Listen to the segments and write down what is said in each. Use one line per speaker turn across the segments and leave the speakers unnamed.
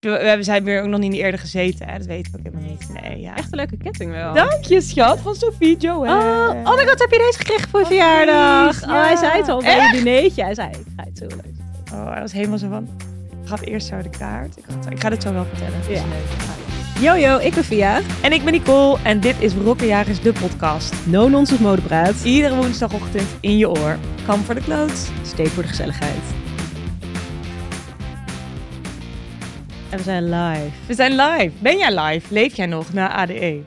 we, we zijn weer ook nog niet eerder gezeten. Hè? Dat weten we ook helemaal niet. Nee, ja.
Echt een leuke ketting wel.
Dank je, schat, van Sophie Joe.
Oh, oh my god, heb je deze gekregen voor je verjaardag?
lief,
Oh, hij
ja.
zei het al bij je dineetje. Hij zei, ik ga het zo leuk.
Oh, hij was helemaal zo van. Ik gaf eerst zo de kaart. Ik, had- ik ga dit zo wel vertellen. Het is
Ja.
leuk.
Yo, yo, ik ben Via.
En ik ben Nicole en dit is Rokkenjagers, de podcast.
No nonsense modepraat.
Iedere woensdagochtend in je oor. Kam voor de kloot.
Steek voor de gezelligheid. En we zijn live.
We zijn live. Ben jij live? Leef jij nog na E? ADE?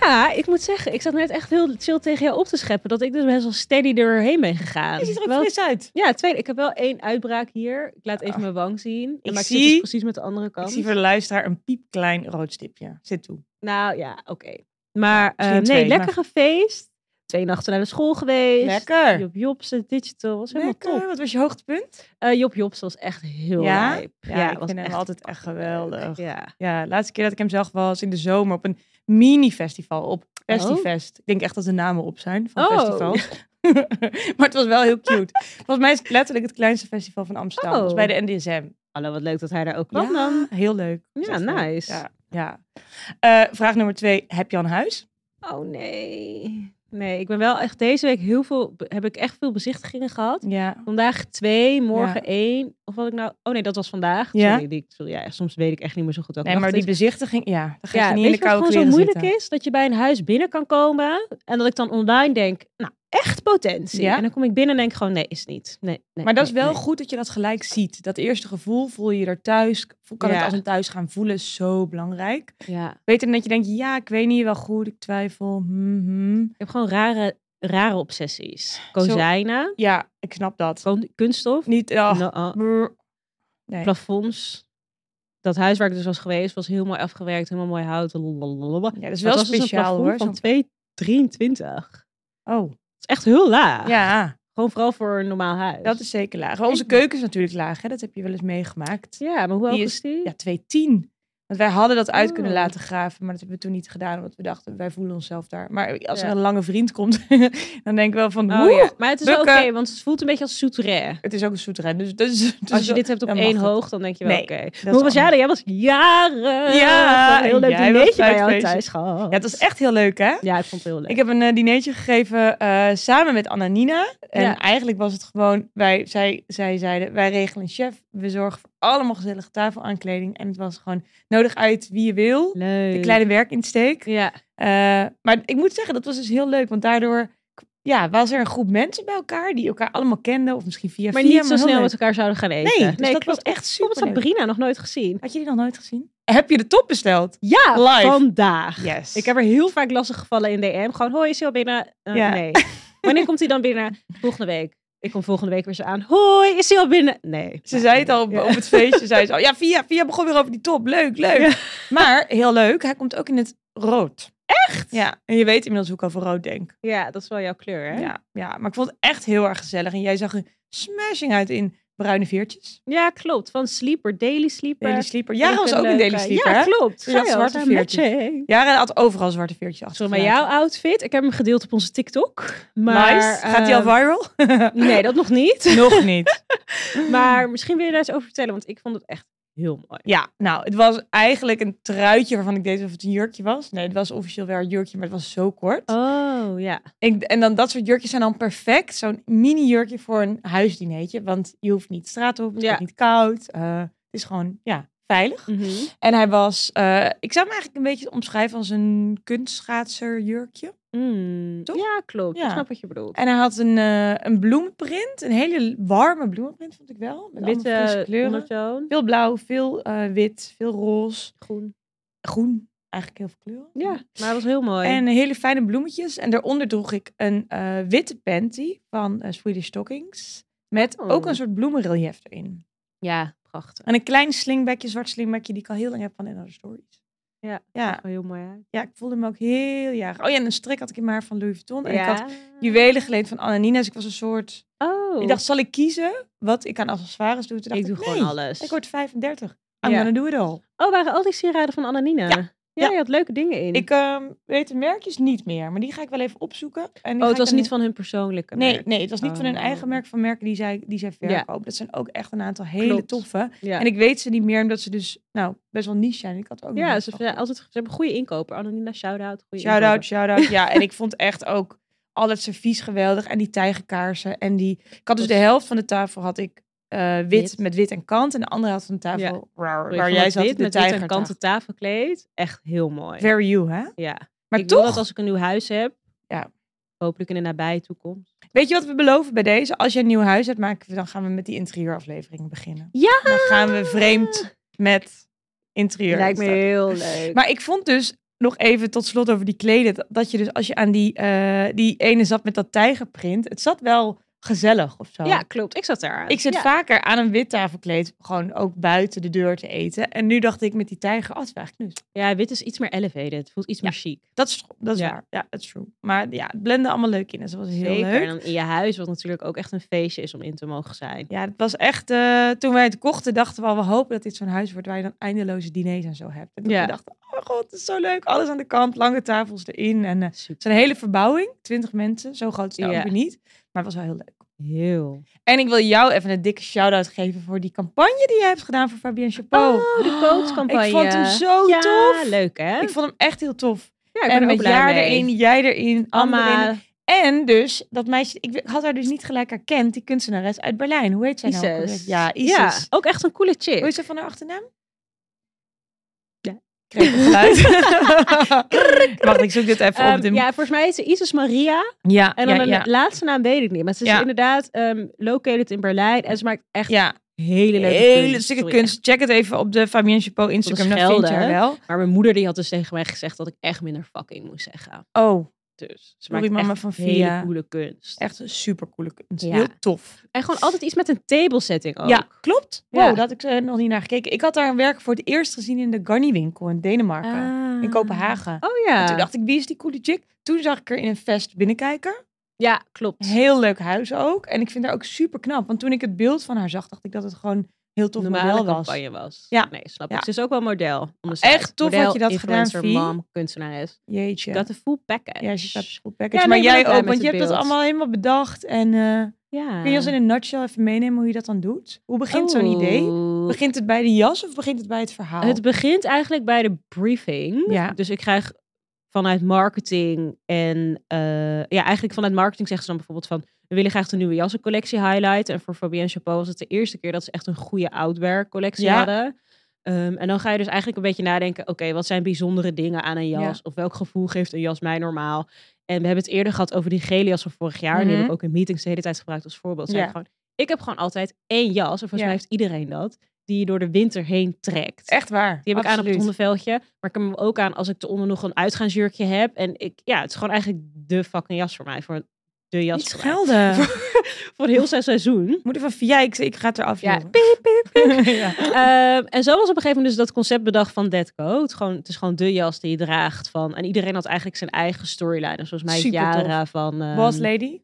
Ja, ik moet zeggen, ik zat net echt heel chill tegen jou op te scheppen. Dat ik dus best wel steady er doorheen ben gegaan.
Je ziet er ook
Wel-
fris uit.
Ja, tweede. Ik heb wel één uitbraak hier. Ik laat even mijn wang zien.
Ik
maar ik zit
zie-
dus precies met de andere
Ik
kant.
zie voor de luisteraar een piepklein rood stipje. Zit toe.
Nou ja, oké. Maar eh,
misschien
nee,
twee,
lekker
maar-
gefeest. Twee nachten naar de school geweest.
Lekker.
Job Jobsen, Digital, was helemaal
Lekker.
top.
Wat was je hoogtepunt?
Eh Job Jobsen was echt heel
Ja?
lijp.
Ja, ik
was
vind hem altijd echt geweldig.
Ja.
Ja, de laatste keer dat ik hem zag was in de zomer op een mini-festival op Festivest. Ik denk echt dat de namen op zijn van
Oh.
festivals. maar het was wel heel cute. Volgens mij is het letterlijk het kleinste festival van Amsterdam. Dat is
Oh.
bij de NDSM.
Hallo, wat leuk dat hij daar ook
Wat
kwam dan.
Heel leuk. Dat is
Ja,
echt leuk.
nice.
Ja, ja. Eh, vraag nummer twee. Heb je al een huis?
Oh nee. Nee, ik ben wel echt deze week heel veel, heb ik echt veel bezichtigingen gehad.
Ja.
Vandaag twee, morgen
Ja.
één. Of wat ik nou, oh nee, dat was vandaag.
Ja?
Sorry, die, sorry ja, soms weet ik echt niet meer zo goed welke
Nee, maar
nacht het
die bezichtiging, ja, daar ga je
Ja,
niet in
weet
de
je wat
koude
gewoon zo
kleren
moeilijk
zitten.
is? Dat je bij een huis binnen kan komen en dat ik dan online denk, nou, echt potentie.
Ja.
En dan kom ik binnen en denk gewoon, nee, is het niet. Nee, nee,
Maar dat is
nee,
wel
nee.
goed dat je dat gelijk ziet. Dat eerste gevoel, voel je je er thuis, kan het
Ja.
als een thuis gaan voelen, is zo belangrijk.
Ja.
Beter dan dat je denkt, ja, ik weet niet, wel goed, ik twijfel. hmm, hmm.
Ik heb gewoon rare, rare obsessies. Kozijnen,
Ja, ik snap dat.
kon- kunststof,
Niet, ah,
no- oh,
brr. nee.
plafonds. Dat huis waar ik dus was geweest, was heel mooi afgewerkt, helemaal mooi hout. lalalala.
Ja, dat is
Maar
wel
het was dus een
speciaal
plafond
hoor.
van
zo'n-
2,23. Dat
Oh,
is echt heel laag.
ja,
Gewoon vooral voor een normaal huis.
dat is zeker laag. Onze keuken is natuurlijk laag, hè? dat heb je wel eens meegemaakt.
Ja, maar hoe hoog
Die
is,
is-
die?
Ja, 210. Want wij hadden dat uit kunnen
Oh.
laten graven, maar dat hebben we toen niet gedaan, want we dachten, wij voelen onszelf daar. Maar als
Ja.
er een lange vriend komt, dan denk ik wel van,
Oh,
"Oeh,
ja. Maar het is wel oké,
bukken.
want het voelt een beetje als souterrain.
het is ook een souterrain. Dus, dus, dus
Als je dit hebt op
dan mag
één
het.
hoog, dan denk je wel,
Nee,
oké.
is
Maar Hoe was jij dan? Jij was jaren.
Ja,
een heel
en
leuk
jij was
dinertje bij jou
thuisfeestje.
thuis gehad.
Ja, het was echt heel leuk, hè?
Ja, ik vond het heel leuk.
Ik heb een eh, dinertje gegeven eh, samen met Anna Nina. En
Ja.
eigenlijk was het gewoon, wij, zij, zij zeiden, wij regelen een chef. We zorgen voor allemaal gezellige tafelaankleding. En het was gewoon nodig uit wie je wil.
leuk.
De kleine werkinsteek.
Ja,
Eh, maar ik moet zeggen, dat was dus heel leuk. Want daardoor ja, was er een groep mensen bij elkaar die elkaar allemaal kenden. Of misschien via
maar
via.
niet zo
heel
snel
leuk.
met elkaar zouden gaan eten.
Nee, dus dat
ik
was
was
echt
Soms
super
had Brina nog nooit gezien.
Had je die nog nooit gezien? Heb je de top besteld?
Ja,
Live.
vandaag.
Yes.
Ik heb er heel vaak lastig gevallen in DM. Gewoon, hoi, is hij al binnen? Eh,
Ja.
Nee. Wanneer komt hij dan binnen? Volgende week. Ik kom volgende week weer zo aan. Hoi, is hij al binnen? Nee.
Ze zei het al op,
Ja.
op het feestje. Zei ze, oh ja, Via, Via begon weer over die top. Leuk, leuk.
Ja.
Maar, heel leuk, hij komt ook in het rood. Echt? Ja, en je weet inmiddels hoe ik over rood denk.
Ja, dat is wel jouw kleur, hè?
Ja, ja, maar ik vond het echt heel erg gezellig. En jij zag er smashing uit in bruine veertjes.
Ja, klopt. Van Sleeper, Daily Sleeper.
Daily sleeper. Jaren was ook
een
een daily
leuke.
sleeper,
Ja,
hè? Dus
klopt.
je had
Zij
zwarte
was een
veertjes.
matching.
Jaren had overal zwarte veertjes achter.
Sorry, maar jouw outfit, ik heb hem gedeeld op onze TikTok. Maar,
nice. Gaat die al
ehm,
viral?
Nee, dat nog niet.
Nog niet.
Maar misschien wil je daar eens over vertellen, want ik vond het echt heel mooi.
Ja, nou, het was eigenlijk een truitje waarvan ik deed of het een jurkje was. Nee, het was officieel wel een jurkje, maar het was zo kort.
Oh, ja.
Ik, en dan dat soort jurkjes zijn dan perfect. Zo'n mini jurkje voor een huisdineetje. Want je hoeft niet straat op, het
Ja.
wordt niet koud. eh, het is gewoon ja, veilig.
Mhm.
En hij was, eh, ik zou hem eigenlijk een beetje omschrijven als een kunstschaatserjurkje.
Mm.
Toch?
Ja, klopt.
Ja.
Ik snap wat je bedoelt.
En hij had een, eh, een bloemenprint. Een hele warme bloemenprint vond ik wel. Met witte
Witte
kleuren.
ondertoon.
Veel blauw, veel eh, wit, veel roze.
Groen.
Groen, eigenlijk heel veel kleuren.
Ja, maar het was heel mooi.
En hele fijne bloemetjes. En daaronder droeg ik een eh, witte panty van eh, Swedish Stockings. Met
Oh.
ook een soort bloemenrelief erin.
Ja, prachtig.
En een klein slingbekje, zwart slingbekje, die ik al heel lang heb van in andere stories.
Ja.
Ja,
Heel mooi uit.
ja, ik voelde me ook heel jarig. Oh ja, en een strik had ik in mijn haar van Louis Vuitton. En ik had juwelen geleend van Anna Nina. Dus ik was een soort...
Oh.
Ik dacht, zal ik kiezen wat ik aan accessoires doe? Toen dacht
ik
ik,
doe
nee,
gewoon alles.
Ik word 35. I'm
Ja.
gonna do it all.
Oh, waren al die sieraden van Ananina?
Ja.
Ja,
Ja.
je had leuke dingen in.
Ik ehm, weet de merkjes niet meer, maar die ga ik wel even opzoeken. En die
oh,
ga
het
ik
was
dan-
niet van hun persoonlijke
Nee,
merk.
nee, het was niet van hun
Oh.
eigen merk van merken die zij, die zij verkopen. Dat zijn ook echt een aantal hele
Klopt.
toffe.
Ja,
En ik weet ze niet meer omdat ze dus nou, best wel niche zijn. Ik had ook
ja ze, ze- altijd, ze hebben goede inkoper. Anonina, shout-out. goede
Shout-out,
inkoper.
shout-out. Ja, en ik vond echt ook al het servies geweldig. En die tijgenkaarsen. En die... Ik had dus de
Was-
helft van de tafel had ik eh, wit,
Wit.
met wit en kant. En de andere helft van de tafel,
Ja.
waar,
Sorry,
waar
van
jij
dat
zat,
wit
de
met wit en
tijgerkant.
kanten tafelkleed. Echt heel mooi.
Very you, hè?
ja.
Maar
ik wil
toch,
dat als ik een nieuw huis heb.
Ja.
Hopelijk in de nabije toekomst.
weet je wat we beloven bij deze? Als je een nieuw huis hebt, maken we, dan gaan we met die interieuraflevering beginnen.
Ja!
Dan gaan we vreemd met interieur.
Lijkt me
instappen.
heel leuk.
Maar ik vond dus nog even tot slot over die kleden. dat- Dat je dus als je aan die, eh, die ene zat met dat tijgerprint. Het zat wel gezellig of zo.
ja, klopt. Ik zat daar.
Ik zit
ja.
vaker aan een wit tafelkleed. Gewoon ook buiten de deur te eten. En nu dacht ik met die tijger. Oh, het is wel eigenlijk knus.
ja, wit is iets meer elevated. Het voelt iets
Ja.
meer chic.
Dat is, dat is
Ja.
waar. Ja, dat is true. Maar ja, het blende allemaal leuk in. Dus dat was heel
Zeker. En
leuk.
dan in je huis, wat natuurlijk ook echt een feestje is om in te mogen zijn.
Ja, het was echt... eh, toen wij het kochten dachten we al... We hopen dat dit zo'n huis wordt waar je dan eindeloze diners en zo hebt. En toen
Ja.
we dachten Oh god, het is zo leuk. Alles aan de kant. Lange tafels erin. En eh,
Super.
Het is een hele verbouwing. 20 mensen. Zo groot is het nou
Ja.
ook weer niet. Maar het was wel heel leuk.
Heel.
En ik wil jou even een dikke shout-out geven voor die campagne die je hebt gedaan voor Fabien Chapeau.
Oh, de coachcampagne.
Ik vond hem zo
ja,
tof.
leuk hè?
Ik vond hem echt heel tof.
ja, ik ben
en
er ook
met
blij
jaar
mee.
erin, jij erin, Anne
Amma,
erin. En dus, dat meisje, ik had haar dus niet gelijk herkend, die kunstenares uit Berlijn. Hoe heet zij nou? ook alweer?
Isis.
Ja, Isis.
Ja, ook echt een coole
Hoe
chick.
is ze van haar achternaam?
Ja.
Ik kreeg een geluid. Wacht, ik zoek dit even op.
Ehm,
de-
ja, volgens mij is ze Isis Maria.
ja,
En dan
ja,
een
ja.
laatste naam weet ik niet. Maar ze is
Ja.
inderdaad ehm, located in Berlijn. En ze maakt echt
ja.
hele leuke
Hele
kunst.
stukken
Sorry,
kunst. Check het even op de Fabien Chapeau Instagram. Dan vind
schelden,
je haar
hè?
wel.
echt. Maar mijn moeder die had dus tegen mij gezegd dat ik echt minder fucking moest zeggen.
Oh,
Dus ze
Sorry,
maakt
mama
echt
van
hele
Via.
coole kunst.
echt een super coole kunst.
Ja.
Heel tof.
En gewoon altijd iets met een table setting ook.
Ja, klopt.
Ja.
Wow, dat had ik er nog niet naar gekeken. Ik had daar een werk voor het eerst gezien in de Garni winkel in Denemarken.
Ah.
In Kopenhagen.
Oh
En
ja.
toen dacht ik, wie is die coole chick? Toen zag ik er in een vest binnenkijken.
ja, klopt.
Heel leuk huis ook. En ik vind haar ook super knap. Want toen ik het beeld van haar zag, dacht ik dat het gewoon een heel tof model was.
campagne was.
Ja.
Nee, snap
Ja.
ik. Ze is ook wel model. on the
Echt
side.
tof
model,
had je dat gedaan,
influencer,
Vie.
mom, kunstenares.
Jeetje.
Dat de full package.
ja, ze staat op goed package.
Ja, nee,
maar
ik ben ook
jij
blij
ook,
met
want je
het
hebt dat
beeld.
allemaal helemaal bedacht. En eh,
Ja.
Kun je ons in een nutshell even meenemen hoe je dat dan doet? Hoe begint zo'n idee?
Oeh.
Begint het bij de jas of begint het bij het verhaal?
Het begint eigenlijk bij de briefing.
Ja.
Dus ik krijg vanuit marketing en eh, ja, eigenlijk vanuit marketing zeggen ze dan bijvoorbeeld van we willen graag de nieuwe jassencollectie highlight. En voor Fabienne Chapeau was het de eerste keer dat ze echt een goede outwear collectie
Ja.
hadden. Ehm, en dan ga je dus eigenlijk een beetje nadenken, oké, wat zijn bijzondere dingen aan een jas?
Ja.
Of welk gevoel geeft een jas mij normaal? En we hebben het eerder gehad over die gele jas van vorig jaar. En die heb
Mhm.
ik ook in meetings de hele tijd gebruikt als voorbeeld. Zei
Ja.
ik gewoon, ik heb gewoon altijd één jas, en volgens
Ja.
mij heeft iedereen dat, die je door de winter heen trekt.
Echt waar.
Die heb ik aan op het
absoluut.
hondenveldje. Maar ik heb hem ook aan als ik eronder nog een uitgaansjurkje heb. En ik, ja, het is gewoon eigenlijk de fucking jas voor mij. Voor de jas
Niet
voor, mij.
schelden.
voor heel zijn seizoen.
Moeder van Via, ik, ik ga het eraf,
Ja,
joh. ja.
Ehm, en zo was op een gegeven moment dus dat concept bedacht van Dead Coat. Gewoon, het is gewoon de jas die je draagt. Van, en iedereen had eigenlijk zijn eigen storyline. Dus Volgens mij
Supertof.
Jara van, ehm,
Boss Lady.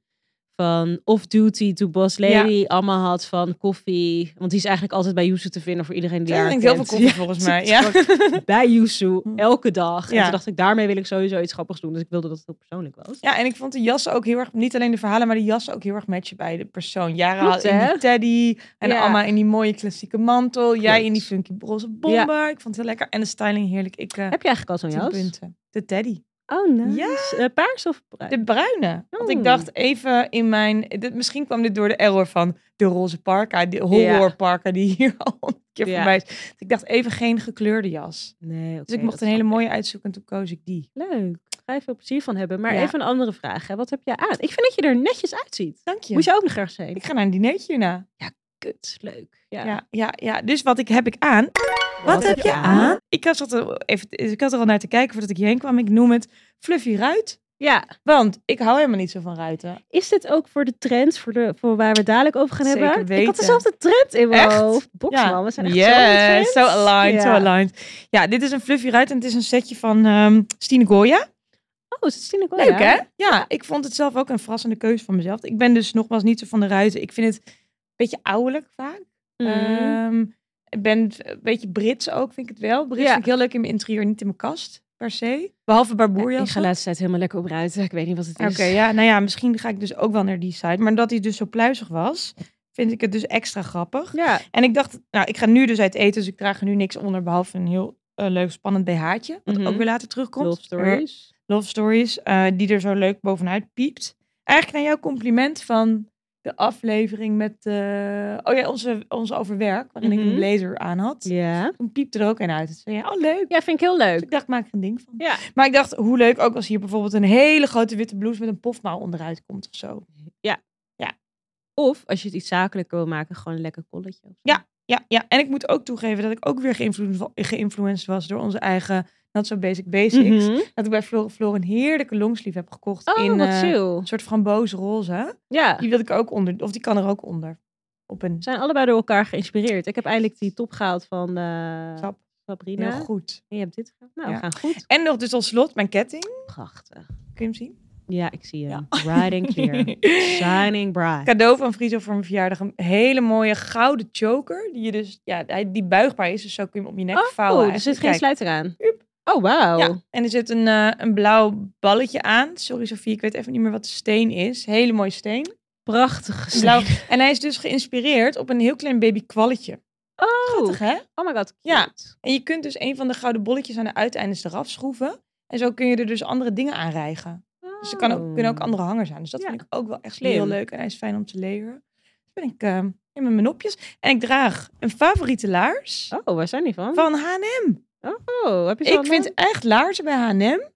van Off Duty to Boss Lady. Allemaal had van Koffie. Want die is eigenlijk altijd bij Yuzu te vinden voor iedereen die
Zij
haar
drinkt heel veel
kent.
koffie volgens mij.
het
Ja.
is bij Yusu elke dag. En
Hm. Ja.
toen dacht ik, daarmee wil ik sowieso iets grappigs doen. Dus ik wilde dat het heel persoonlijk was.
ja, en ik vond de jassen ook heel erg, niet alleen de verhalen, maar de jassen ook heel erg matchen bij de persoon. Jara
Klopt,
had in
hè?
die teddy en
Ja.
allemaal in die mooie klassieke mantel. Jij
Klopt.
in die funky roze bomber. Ik vond het heel lekker. En de styling heerlijk. Ik eh
Heb je eigenlijk al zo'n
tien
jas?
punten. De teddy.
Oh, nice.
Ja.
Eh, paars of bruin?
De bruine. Want
Oh.
ik dacht even in mijn... Dit, misschien kwam dit door de error van de roze parka. De horror parka die hier al een keer
Ja.
voorbij is. Dus ik dacht even geen gekleurde jas.
Nee, oké,
Dus ik
dat
mocht een hele
snap
mooie uitzoeken en toen koos ik die.
ik. Leuk. Ga je veel plezier van hebben. Maar
Ja.
even een andere vraag. Hè. Wat heb jij aan? Ik vind dat je er netjes uitziet.
Dank je.
Moet je ook nog ergens heen?
Ik ga naar een dinertje hierna.
Kut, leuk. Ja.
Ja. Ja, ja, Dus wat ik, heb ik aan? Wat, heb je aan? Ik, had zat er even, ik had er al naar te kijken voordat ik hierheen kwam. Ik noem het fluffy ruit.
Ja.
Want ik hou helemaal niet zo van ruiten.
Is dit ook voor de trends, voor, de, voor waar we het dadelijk over gaan
Zeker
hebben? Ik had
weten.
dezelfde trend in mijn
Echt?
hoofd. Boxman, we zijn echt zo
Yeah,
in trends.
so aligned,
Ja.
so aligned. Ja, dit is een fluffy ruit en het is een setje van ehm Stine Goya.
Oh, is het
Leuk hè? Ja, ik vond het zelf ook een verrassende keuze van mezelf. Ik
Mhm. Mm.
ben dus nogmaals niet zo van de ruiten. Ik vind het een beetje ouwelijk vaak. Ehm, Ik ben een beetje Brits ook, vind ik het wel. Brits
Ja.
vind ik heel leuk in mijn interieur, niet in mijn kast, per se. Behalve
Ik
barboerjassen.
ga de laatste tijd helemaal lekker op ruiten. Ik weet niet wat het is.
Oké, ja, nou ja, misschien ga ik dus ook wel naar die site. Maar omdat hij dus zo pluizig was, vind ik het dus extra grappig.
Ja.
En ik dacht, nou, ik ga nu dus uit eten, dus ik draag er nu niks onder, behalve een heel eh, leuk spannend BH'tje, wat
Mhm.
ook weer later terugkomt. Eh,
Love stories.
Love Stories, eh, die er zo leuk bovenuit piept. Eigenlijk naar jouw compliment van de aflevering met, eh, oh ja, onze, onze over werk, waarin ik
Mhm.
een blazer aan had.
Ja.
Toen piepte er ook een uit. Toen zei je, oh leuk.
Ja, vind ik heel
Dus
leuk.
ik dacht, maak er een ding van.
Ja.
Maar ik dacht, hoe leuk ook als hier bijvoorbeeld een hele grote witte blouse met een pofmouw onderuit komt of zo.
Of als je het iets zakelijker wil maken, gewoon een lekker kolletje. of zo.
Ja. Ja, ja, en ik moet ook toegeven dat ik ook weer geïnvloed- geïnfluenced was door onze eigen Not So Basic Basics.
Mhm.
Dat ik bij Flor, Flor een heerlijke longsleeve heb gekocht
Oh,
in
wat
eh,
chill.
een soort framboze roze.
Ja.
Die wil ik ook onder, of die kan er ook onder. Op een
We zijn allebei door elkaar geïnspireerd. Ik heb eindelijk die top gehaald van eh,
Sap.
Sabrina.
heel goed.
En je hebt dit gehaald. Nou,
Ja.
we gaan goed.
En nog dus als slot mijn ketting.
Prachtig.
Kun je hem zien?
Ja, ik zie hem. Riding clear. Shining bright.
Cadeau van Friso voor mijn verjaardag. Een hele mooie gouden choker. Die je dus, ja, hij- die buigbaar is. Dus zo kun je hem om je nek vouwen.
Oh, er zit
eigenlijk.
geen
Kijk.
sluiter aan.
Hup.
Oh, wauw.
Ja, en er zit een, eh, een blauw balletje aan. Sorry Sofie, ik weet even niet meer wat de steen is. Hele mooie steen.
Prachtig.
Een Blauw. En hij is dus geïnspireerd op een heel klein baby kwalletje.
Oh,
Prachtig, hè?
oh my god.
Ja.
cute.
En je kunt dus een van de gouden bolletjes aan de uiteindes eraf schroeven. En zo kun je er dus andere dingen aan rijgen. Dus er kan ook,
Oh.
kunnen ook andere hangers aan. Dus dat
Ja.
vind ik ook wel echt
Slim.
heel leuk. En hij is fijn om te leren. Dus ben ik eh, in met mijn nopjes. En ik draag een favoriete laars
Oh, waar zijn die van?
van H&M.
Oh, heb je zo'n
Ik vind echt laarzen bij H&M.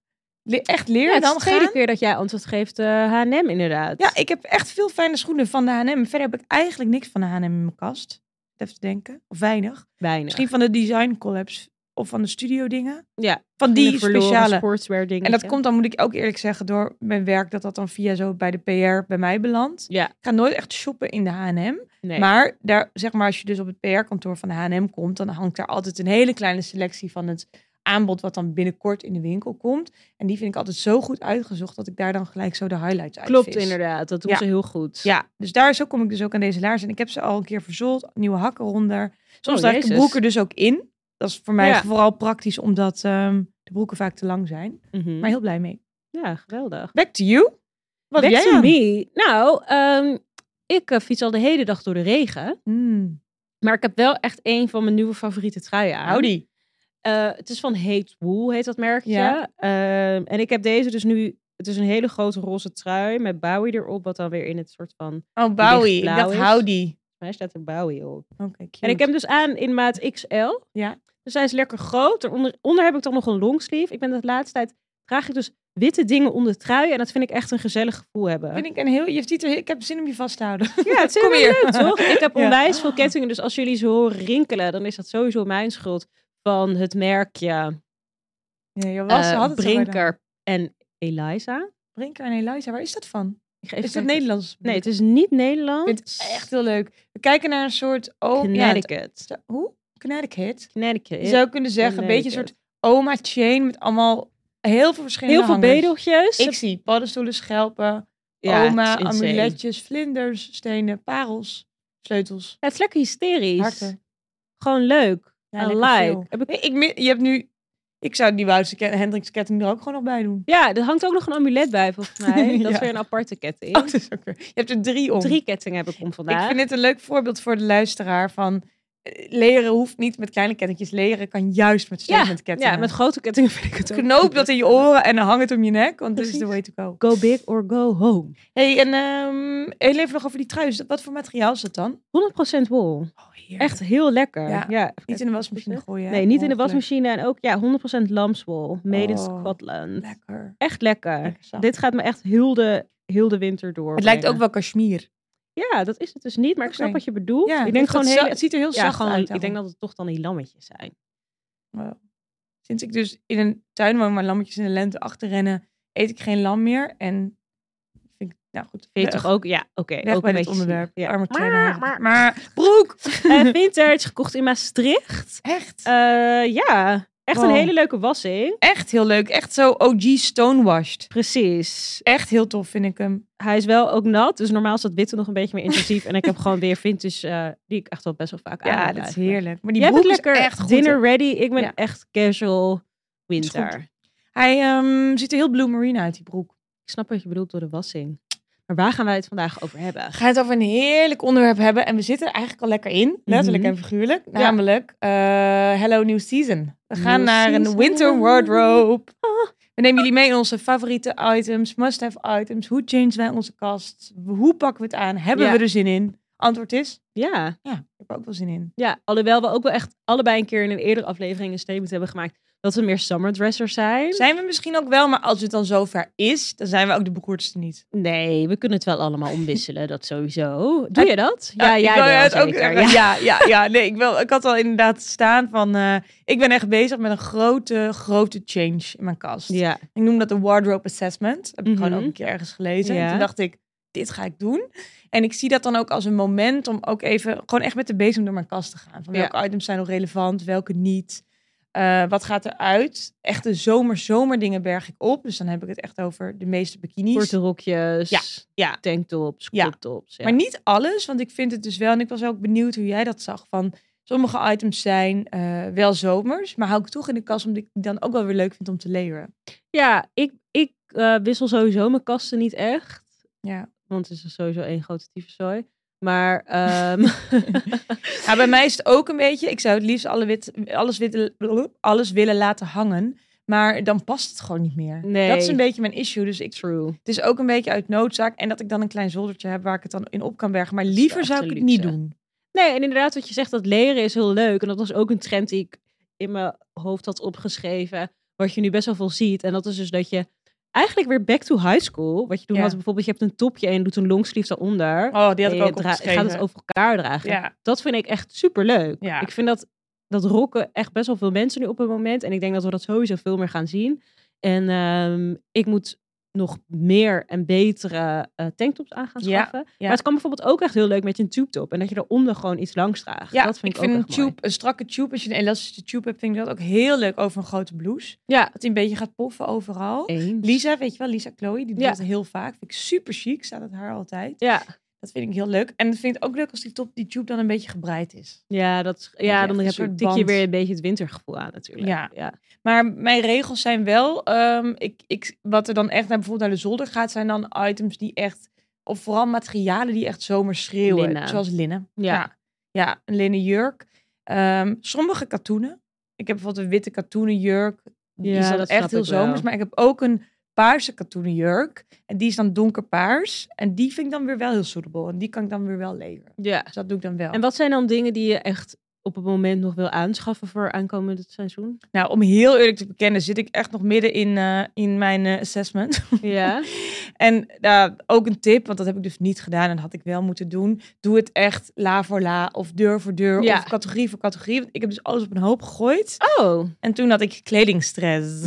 le- echt
ja,
leer
het is de
dan gaan.
tweede keer dat jij antwoord geeft eh, H&M inderdaad.
Ja, ik heb echt veel fijne schoenen van de H&M. Verder heb ik eigenlijk niks van de H&M in mijn kast. Even te denken. Of weinig.
Bijna.
Misschien van de design collabs of van de studio dingen.
Ja.
Van die speciale.
sportswear dingen.
En dat komt dan, moet ik ook eerlijk zeggen, door mijn werk dat dat dan via zo bij de PR bij mij belandt.
Ja,
Ik ga nooit echt shoppen in de H&M.
nee.
Maar daar, zeg maar, als je dus op het PR-kantoor van de H&M komt, dan hangt daar altijd een hele kleine selectie van het aanbod wat dan binnenkort in de winkel komt. En die vind ik altijd zo goed uitgezocht dat ik daar dan gelijk zo de highlights uit
Klopt
vis.
inderdaad, dat doen
Ja.
ze heel goed.
Ja, dus daar zo kom ik dus ook aan deze laars. En ik heb ze al een keer verzold, nieuwe hakken onder. Soms
Oh,
draag ik de
jezus.
broeken dus ook in. Dat is voor mij
Ja.
vooral praktisch, omdat ehm, de broeken vaak te lang zijn.
Mhm.
Maar heel blij mee.
ja geweldig.
Back to you. Wat
Back
heb jij
to
aan?
me. Nou, ehm, ik eh, fiets al de hele dag door de regen.
Hmm.
Maar ik heb wel echt een van mijn nieuwe favoriete truien aan.
Howdy.
Eh, het is van Hate Wool, heet dat merkje.
Ja.
Ehm, en ik heb deze dus nu... Het is een hele grote roze trui met Bowie erop. Wat dan weer in het soort van...
Oh, Bowie. Ik
Lichtblauw
dacht
is.
howdy.
Mij staat er Bowie op.
Oké,
En ik heb hem dus aan in maat XL.
Ja.
Dus hij is lekker groot. Onder, onder heb ik dan nog een longsleeve. Ik ben de laatste tijd draag ik dus witte dingen onder trui. En dat vind ik echt een gezellig gevoel hebben.
Vind ik een heel... Je ziet er, ik heb zin om je vast te houden.
Ja, het is
Kom
heel
hier.
leuk, toch? Ik heb
Ja.
onwijs veel kettingen. Dus als jullie ze horen rinkelen, dan is dat sowieso mijn schuld. Van het merkje
Nee, je was,
eh,
had het zo gedaan.
Brinker en Eliza.
Brinker en Eliza, waar is dat van?
Ik ga even
is dat
kijken.
Nederlands?
Nee, het is niet Nederland.
Ik vind het echt heel leuk. We kijken naar een soort... Oh, ja, het-
Connecticut.
hoe? Connecticut.
Connecticut.
Je zou kunnen zeggen, een beetje een soort oma chain met allemaal heel veel verschillende
Heel veel
hangers.
bedeltjes.
Ik zie paddenstoelen, schelpen,
Ja,
oma,
het is insane.
amuletjes, vlinders, stenen, parels, sleutels,
Ja, het is lekker hysterisch.
harten.
Gewoon leuk.
Ja,
I
lekker
like.
veel.
Heb ik...
Nee, ik, mi- je hebt nu, ik zou die Woutse Ke- Hendricks ketting er ook gewoon nog bij doen.
Ja, er hangt ook nog een amulet bij volgens mij. Dat is
Ja.
weer een aparte ketting.
Oh, dat is ook weer. Je hebt er drie om.
Drie kettingen heb ik om
Ik
vandaag.
vind dit een leuk voorbeeld voor de luisteraar van eh, leren hoeft niet met kleine kettingjes. Leren kan juist met
ja,
statement kettingen.
ja, met grote kettingen vind ik het ook.
Knoop dat in je oren en hang het om je nek, want this is the way
Precies.
to go.
Go big or go home.
Hey, en ehm heel even nog over die trui. Is dat- Wat voor materiaal is dat dan?
100% wol.
Oh, heerlijk.
Echt heel lekker. Ja.
Ja,
even
Niet in de wasmachine gooien. hè?
Nee, niet in de
Ongeluk.
wasmachine. En ook ja, 100% lamswol. Made in
Oh,
Scotland.
Lekker.
Echt lekker.
Lekker zacht.
Dit gaat me echt heel de, heel de winter door.
Het lijkt ook wel kashmir.
Ja, dat is het dus niet. Maar ik snap
Oké.
wat je bedoelt. ik denk
dat
gewoon
za-
hele...
Het ziet er heel
ja,
zacht
gewoon,
uit.
ik denk dat het toch dan die lammetjes zijn.
Sinds ik dus in een tuin woon waar lammetjes in de lente achterrennen, eet ik geen lam meer. En vind ik, nou goed.
Vind je
weg-
toch ook? Ja, oké.
Weg
ook
bij
een
dit
beetje
onderwerp.
zielig. Ja.
Arme maar,
Maar- maar-
maar, broek!
Eh, Vintage, gekocht in Maastricht.
Echt?
Eh, ja, Echt
Wow.
een hele leuke wassing.
Echt heel leuk. Echt zo OG stonewashed.
Precies.
Echt heel tof vind ik hem.
Hij is wel ook nat, dus normaal is dat witte nog een beetje meer intensief. en ik heb gewoon weer vintage, eh, die ik echt wel best wel vaak aan.
Ja,
heb
dat is
eigenlijk.
heerlijk. Ah, Maar die
Jij
broek
bent lekker
is echt goed.
dinner
hè?
ready. Ik ben
Ja.
echt casual
is goed.
winter.
Hij ehm, ziet er heel Blue Marine uit, die broek.
Ik snap wat je bedoelt door de wassing. Maar waar gaan wij het vandaag over hebben?
We gaan het over een heerlijk onderwerp hebben. En we zitten er eigenlijk al lekker in. Letterlijk
Mhm.
en figuurlijk. Namelijk eh, Hello New Season. We gaan
New
naar een
season. Ah.
winter wardrobe. We nemen jullie mee in onze favoriete items, must-have items. Hoe changen wij onze kast? Hoe pakken we het aan? Hebben
Ja.
we er zin in? Antwoord is,
Ja,
ja, ik heb er ook wel zin in.
ja, alhoewel we ook wel echt allebei een keer in een eerdere aflevering een statement hebben gemaakt dat we meer summer dressers zijn.
Zijn we misschien ook wel, maar als het dan zover is, dan zijn we ook de bekoerdste niet.
Nee, we kunnen het wel allemaal omwisselen, dat sowieso. Doe je dat? Ja,
ik
jij
wil
wel
het ook
zeker.
zeggen.
Ja.
ja, ja, ja. Nee, ik, wil, ik had al inderdaad staan van... eh, ik ben echt bezig met een grote, grote change in mijn kast.
Ja.
Ik noem dat de wardrobe assessment. Heb ik
Mhm.
gewoon ook een keer ergens gelezen. En
Ja.
toen dacht ik, dit ga ik doen. En ik zie dat dan ook als een moment om ook even... gewoon echt met de bezem door mijn kast te gaan. Van
Ja.
welke items zijn nog relevant, welke niet. Eh, wat gaat eruit? Echte zomer, zomerdingen berg ik op. Dus dan heb ik het echt over de meeste bikinis.
Korte rokjes,
Ja, ja.
tanktops,
Ja.
kloptops. Ja.
Maar niet alles, want ik vind het dus wel, en ik was ook benieuwd hoe jij dat zag, van sommige items zijn eh, wel zomers, maar hou ik toch in de kast omdat ik die dan ook wel weer leuk vind om te layeren.
Ja, ik, ik eh, wissel sowieso mijn kasten niet echt.
Ja.
Want het is sowieso één grote tyfuszooi. Maar ehm,
Maar bij mij is het ook een beetje, ik zou het liefst alle wit, alles, wit, alles willen laten hangen, maar dan past het gewoon niet meer.
Nee.
Dat is een beetje mijn issue, dus ik,
true.
het is ook een beetje uit noodzaak en dat ik dan een klein zoldertje heb waar ik het dan in op kan bergen, maar
is wel
liever
echt
zou
een
ik het
luxe.
niet doen.
Nee, en inderdaad wat je zegt, dat leren is heel leuk. En dat was ook een trend die ik in mijn hoofd had opgeschreven. Wat je nu best wel veel ziet. En dat is dus dat je eigenlijk weer back to high school. Wat je toen
Ja.
had bijvoorbeeld, je hebt een topje en je doet een longsleeve daaronder.
Oh, die had ik
En je
ook
dra-
opgeschreven.
gaat het over elkaar dragen.
Ja,
Dat vind ik echt super leuk.
Ja.
Ik vind dat, dat rocken echt best wel veel mensen nu op het moment. En ik denk dat we dat sowieso veel meer gaan zien. En ehm, ik moet nog meer en betere eh, tanktops aan gaan
Ja,
schaffen. Maar het kan bijvoorbeeld ook echt heel leuk met je een tube top. En dat je eronder gewoon iets langs draagt.
Ja,
dat vind ik,
vind
ook
een
echt
tube,
mooi.
een strakke tube, als je een elastische tube hebt, vind ik dat ook heel leuk over een grote blouse.
Ja,
Dat die een beetje gaat poffen overal.
eens.
Lisa, weet je wel, Lisa Chloe, die doet
Ja.
dat heel vaak. Vind ik super chic, staat het haar altijd.
Ja,
Dat vind ik heel leuk. En dat vind ik ook leuk als die top, die tube dan een beetje gebreid is.
ja, dat, is-
je
ja
echt
dan
een
heb je,
soort
tik je
band.
weer een beetje het wintergevoel aan natuurlijk.
Ja.
ja.
Maar mijn regels zijn wel, ehm, ik, ik, wat er dan echt naar bijvoorbeeld naar de zolder gaat, zijn dan items die echt, of vooral materialen die echt zomer schreeuwen.
Linnen.
Zoals linnen.
Ja.
ja. Ja, een linnen jurk. Ehm, sommige katoenen. Ik heb bijvoorbeeld een witte katoenen jurk. Die
Ja,
is dan
dat snap
echt heel
ik wel.
zomers. Maar ik heb ook een paarse katoenen jurk. En die is dan donkerpaars. En die vind ik dan weer wel heel suitable. En die kan ik dan weer wel leveren.
ja.
Dus dat doe ik dan wel.
En wat zijn dan dingen die je echt op het moment nog wil aanschaffen voor aankomend seizoen?
Nou, om heel eerlijk te bekennen, zit ik echt nog midden in, eh, in mijn eh, assessment.
Ja.
En nou, ook een tip, want dat heb ik dus niet gedaan en had ik wel moeten doen. Doe het echt la voor la of deur voor deur
Ja.
of categorie voor categorie. Want ik heb dus alles op een hoop gegooid.
Oh.
En toen had ik kledingstress.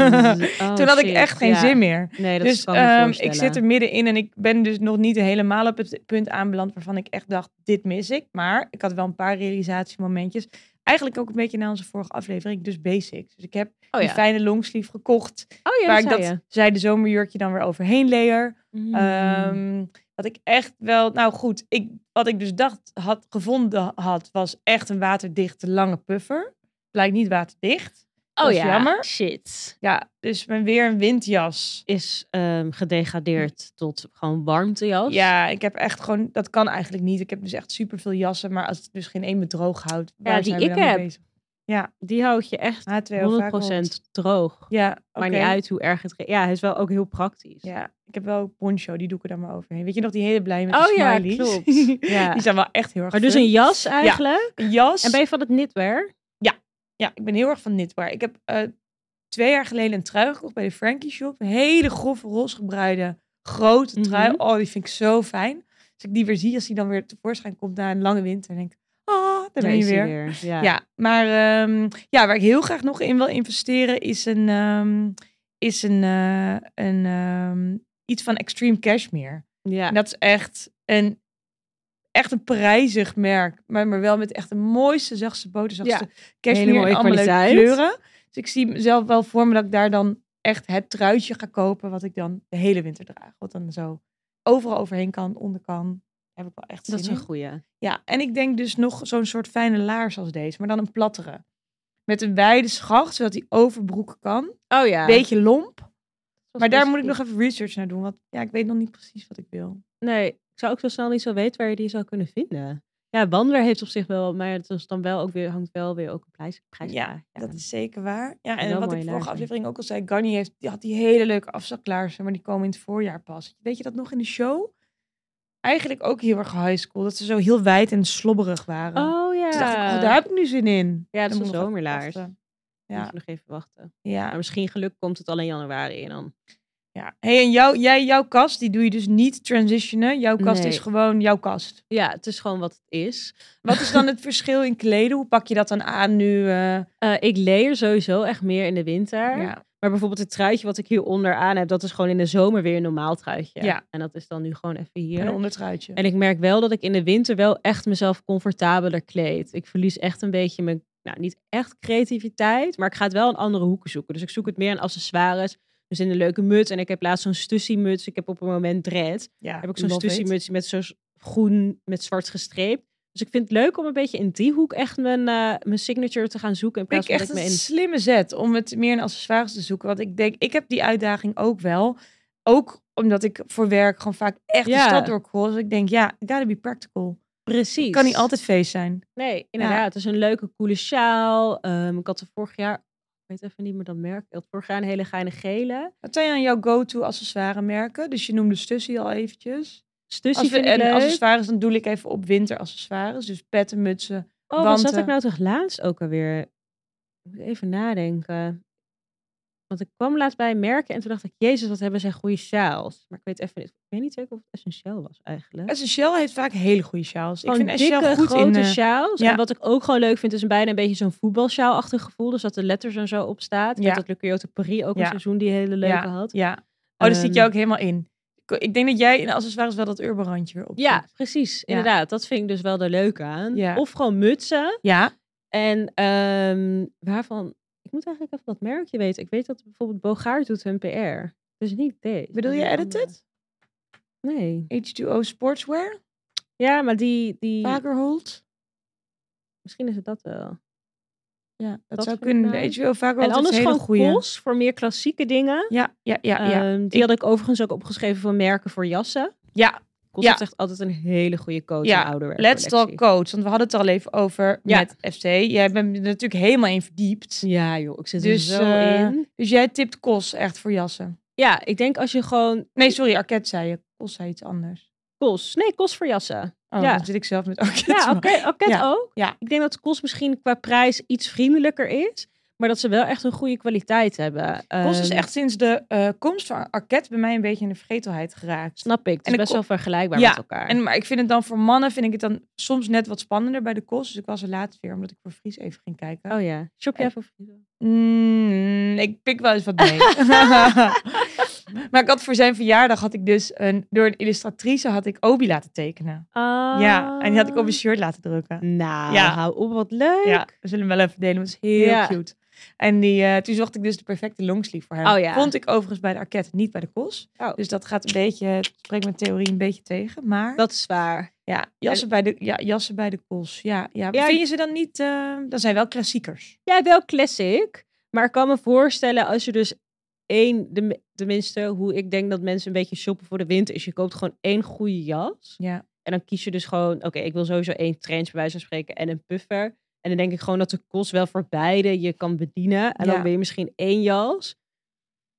Oh,
toen had ik
shit,
echt geen
ja.
zin meer.
Nee, dat
dus
kan ik me
ehm,
voorstellen.
ik zit er middenin en ik ben dus nog niet helemaal op het punt aanbeland waarvan ik echt dacht, dit mis ik. Maar ik had wel een paar realisatiemomentjes. Eigenlijk ook een beetje na onze vorige aflevering, dus basics. Dus ik heb
Oh
die fijne longsleeve gekocht,
Oh ja,
waar ik
dat
dat
zei
zij de zomerjurkje dan weer overheen layer.
je. Mm.
Ehm, wat ik echt wel, nou goed, ik, wat ik dus dacht had gevonden had, was echt een waterdichte lange puffer. Blijkt niet waterdicht. dat
oh
is
ja,
jammer.
shit.
Ja, dus mijn weer een windjas.
Is ehm, gedegradeerd tot gewoon warmtejas.
Ja, ik heb echt gewoon, dat kan eigenlijk niet. Ik heb dus echt super veel jassen, maar als het dus geen één me droog houdt, waar
die
zijn we
ik
dan mee
heb.
bezig? Ah,
Die houd je echt
H2O
100%
vaak rond.
droog.
Ja,
Maar
oké.
niet uit hoe erg het... ge- Ja, hij is wel ook heel praktisch.
Ja, ik heb wel een poncho, die doe ik er dan maar overheen. Weet je nog die hele blij met
Oh
die
ja,
smileys?
klopt. Ja.
Die zijn wel echt heel erg
Maar dus
fun.
een jas eigenlijk.
Een jas.
En ben je van het knitwear?
Ja, ik ben heel erg van knitwear. Ik heb eh, twee jaar geleden een trui gekocht bij de Frankie Shop. Een hele grove, roze gebruide, grote trui.
Mhm.
Oh, die vind ik zo fijn. Als ik die weer zie, als die dan weer tevoorschijn komt na een lange winter, denk ik, ah, daar ben je
is hij
weer.
Ja.
Ja. maar ehm, ja, waar ik heel graag nog in wil investeren is een, ehm, is een, eh, een ehm, iets van Extreme Cashmere.
Ja.
En dat is echt een, echt een prijzig merk. Maar, maar wel met echt de mooiste, zachtste boter, zachtste
Hele
cashmere en
mooie
allemaal leuke
kwaliteit.
kleuren. Dus ik zie mezelf wel voor me dat ik daar dan echt het truitje ga kopen wat ik dan de hele winter draag. Wat dan zo overal overheen kan, onder kan. Daar heb ik wel echt zin
Dat is een
in.
goeie.
Ja, en ik denk dus nog zo'n soort fijne laars als deze, maar dan een plattere. Met een wijde schacht, zodat die overbroek kan.
Oh ja.
Beetje lomp.
Dat
Maar
was
daar moet ik
specifiek.
nog even research naar doen, want ja, ik weet nog niet precies wat ik wil.
Nee, ik zou ook zo snel niet zo weten waar je die zou kunnen vinden. Ja, Wandler heeft op zich wel, maar het is dan wel ook weer, hangt wel weer ook een prijs, prijs
Ja, dat is zeker waar. Ja, en
wel
wat ik
mooie
vorige
laarzen.
aflevering ook al zei, Garni heeft, die had die hele leuke afzaklaarzen, maar die komen in het voorjaar pas. Weet je dat nog in de show? Eigenlijk ook heel erg high school, dat ze zo heel wijd en slobberig waren.
Oh ja.
Toen dacht ik, oh, daar heb ik nu zin in.
Ja,
Dan
dat is een
moet ik nog even
zomerlaars.
wachten.
Ja.
Ja,
Moeten we nog even wachten.
ja,
Maar misschien geluk komt het al in januari en dan.
ja. Hey, en jou, jij, jouw kast, die doe je dus niet transitionen. Jouw kast
Nee.
is gewoon jouw kast.
Ja, het is gewoon wat het is.
Wat is dan het verschil in kleden? Hoe pak je dat dan aan nu? eh,
Eh, ik leer sowieso echt meer in de winter.
ja.
Maar bijvoorbeeld het truitje wat ik hieronder aan heb, dat is gewoon in de zomer weer een normaal truitje.
Ja.
En dat is dan nu gewoon even
Een
hier.
ondertruitje.
En ik merk wel dat ik in de winter wel echt mezelf comfortabeler kleed. Ik verlies echt een beetje mijn, nou niet echt creativiteit, maar ik ga het wel in andere hoeken zoeken. Dus ik zoek het meer aan accessoires. Dus in een leuke muts. En ik heb laatst zo'n stussiemuts. Ik heb op een moment dread.
ja,
heb ik zo'n
love it.
stussiemuts met zo'n groen met zwart gestreept. Dus ik vind het leuk om een beetje in die hoek echt mijn, eh, mijn signature te gaan zoeken. In
Ik
plaats van
echt
dat ik me
een
in...
slimme zet om het meer in accessoires te zoeken. Want ik denk, ik heb die uitdaging ook wel. Ook omdat ik voor werk gewoon vaak echt
Ja.
de stad doorkool. Dus ik denk, ja, I gotta be practical.
Precies.
Ik kan niet altijd feest zijn.
Nee, inderdaad. Het is een leuke, coole sjaal. Ehm, ik had er vorig jaar, ik weet even niet meer dat merk. Ik had vorig jaar een hele geile gele.
Wat zijn dan jouw go-to accessoire merken? Dus je noemde Stussy al eventjes.
Stussie
Als we,
vind ik
en
leuk.
accessoires, dan doel ik even op winteraccessoires. Dus petten, mutsen.
Oh, wat zat
wanten.
ik nou toch laatst ook alweer? Ik moet even nadenken. Want ik kwam laatst bij merken en toen dacht ik, jezus, wat hebben zij goede sjaals. Maar ik weet even niet, ik weet niet zeker of het essentieel was eigenlijk.
Essentiel heeft vaak hele goede sjaals. Ik
Gewoon
vind
dikke,
Essentiel goed
grote
in... eh,
sjaals.
ja.
En wat ik ook gewoon leuk vind, is een bijna een beetje zo'n voetbalsjaal-achtig gevoel. Dus dat de letters en zo op staat. Ik
Ja.
weet dat Le Coyote Paris ook
Ja.
een seizoen die hele leuke had.
ja. Oh, daar zit je
Ehm,
ook helemaal in. Ik- Ik denk dat jij in accessoires wel dat urban randje weer op.
Ja, precies. Inderdaad. Dat vind ik dus wel de leuke aan.
Ja.
Of gewoon mutsen.
Ja.
En ehm, waarvan... Ik moet eigenlijk even dat merkje weten. Ik weet dat bijvoorbeeld Bogaert doet hun PR. Dus niet deze.
Bedoel je
maar die
edited?
andere. Nee.
H2O Sportswear?
Ja, maar die... die...
Vagerhold?
Misschien is het dat wel.
Ja, dat,
Dat
zou
vind ik
kunnen.
nou-
H2O Vagerhold
en anders
is een
gewoon
hele goede.
Kos voor meer klassieke dingen.
Ja, ja, ja. ja.
Ehm, die
Ik-
had ik overigens ook opgeschreven voor merken voor jassen.
ja,
Kost
Ja.
heeft echt altijd een hele goede coach
Ja,
en ouderwerk
let's talk coach. Want we hadden het er al even over
Ja.
met FC. Jij bent er natuurlijk helemaal in verdiept.
Ja joh, ik zit
Dus,
er zo
eh,
in.
Dus jij tipt Kos echt voor jassen.
Ja, ik denk als je gewoon...
Nee, sorry, Arket zei je. Kos zei iets anders.
Kos. Nee, Kos voor jassen.
Oh,
Ja.
dan zit ik zelf met Arket.
Ja, oké, oké,
Ja,
ook.
ja.
Ik denk dat Kos misschien qua prijs iets vriendelijker is. Maar dat ze wel echt een goede kwaliteit hebben.
Kos is
Ehm,
echt sinds de eh, komst van Arket bij mij een beetje in de vergetelheid geraakt.
Snap ik. Het
En
is
de
best
ko-
wel vergelijkbaar
Ja,
met elkaar.
En, maar ik vind het dan voor mannen vind ik het dan soms net wat spannender bij de Kos. Dus ik was er laatst weer, omdat ik voor Fries even ging kijken.
Oh ja. Shop jij
En-
voor
Mm, ik pik wel eens wat mee. maar ik had voor zijn verjaardag had ik dus een, door een illustratrice had ik Obi laten tekenen. Ja, en die had ik
Ah.
op een shirt laten drukken.
Nou,
Ja.
hou op, wat leuk.
Ja, we zullen hem wel even delen, want het is heel
Ja.
cute. En die, eh, toen zocht ik dus de perfecte longsleeve voor hem.
Oh ja.
Vond ik overigens bij de Arquette, niet bij de Kos.
Oh.
Dus dat gaat een beetje, het spreekt mijn theorie een beetje tegen. Maar
Dat is waar.
ja, jassen bij de, ja, jassen bij de Kos. Ja, ja.
Ja,
Vind je ze dan niet, eh dan zijn wel klassiekers.
Ja, wel classic. Maar ik kan me voorstellen als je dus één, de- tenminste hoe ik denk dat mensen een beetje shoppen voor de winter, is je koopt gewoon één goede jas.
Ja.
En dan kies je dus gewoon, oké, ik wil sowieso één trench bij wijze van spreken en een puffer. En dan denk ik gewoon dat de kost wel voor beide je kan bedienen. En
Ja.
dan wil je misschien één jas.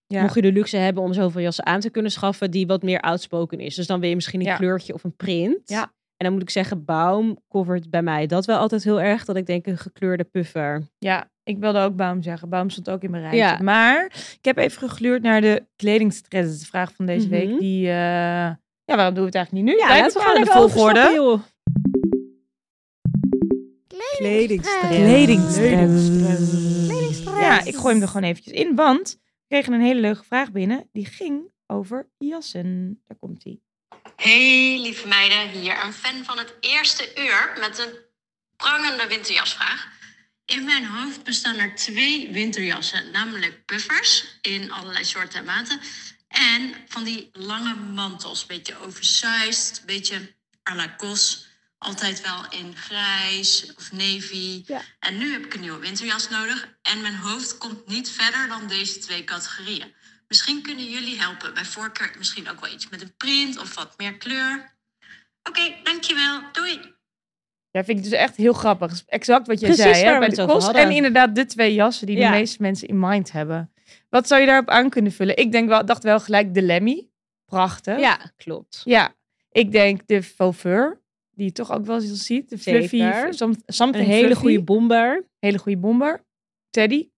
Ja.
Mocht je de luxe hebben om zoveel jassen aan te kunnen schaffen die wat meer outspoken is. Dus dan wil je misschien een
Ja.
kleurtje of een print.
Ja.
En dan moet ik zeggen, Baum covert bij mij dat wel altijd heel erg. Dat ik denk een gekleurde puffer.
Ja, ik wilde ook Baum zeggen. Baum stond ook in mijn rijtje.
Ja.
Maar ik heb even gegluurd naar de kledingstrends. Dat is De vraag van deze week.
Mhm.
Die, eh, ja, waarom doen we het eigenlijk niet nu? Wij
laten
doen het gewoon in de
lekker overstappen,
volgorde.
joh.
Ja, ik gooi hem er gewoon eventjes in. Want we kregen een hele leuke vraag binnen. Die ging over jassen. Daar komt hij.
Hey lieve meiden, hier een fan van het eerste uur met een prangende winterjasvraag. In mijn hoofd bestaan er twee winterjassen, namelijk buffers in allerlei soorten en maten. En van die lange mantels, beetje oversized, beetje à la kos. Altijd wel in grijs of navy.
Ja.
En nu heb ik een nieuwe winterjas nodig. En mijn hoofd komt niet verder dan deze twee categorieën. Misschien kunnen jullie helpen. Bij voorkeur misschien ook wel iets met een print of wat meer kleur. Oké, dankjewel. Doei.
Ja, vind ik dus echt heel grappig. Dat is Exact wat jij
Precies
zei,
waar
hè,
we
bij
het
de
over
kost.
hadden.
En inderdaad de twee jassen die
Ja.
de meeste mensen in mind hebben. Wat zou je daarop aan kunnen vullen? Ik denk wel, dacht wel gelijk de Lemmy. Prachtig.
Ja, klopt.
Ja. Ik denk de fauveur, die je toch ook wel eens ziet. De fluffy,
Zeker.
som- something
Een hele
fluffy.
goede bomber.
hele goede bomber. Teddy.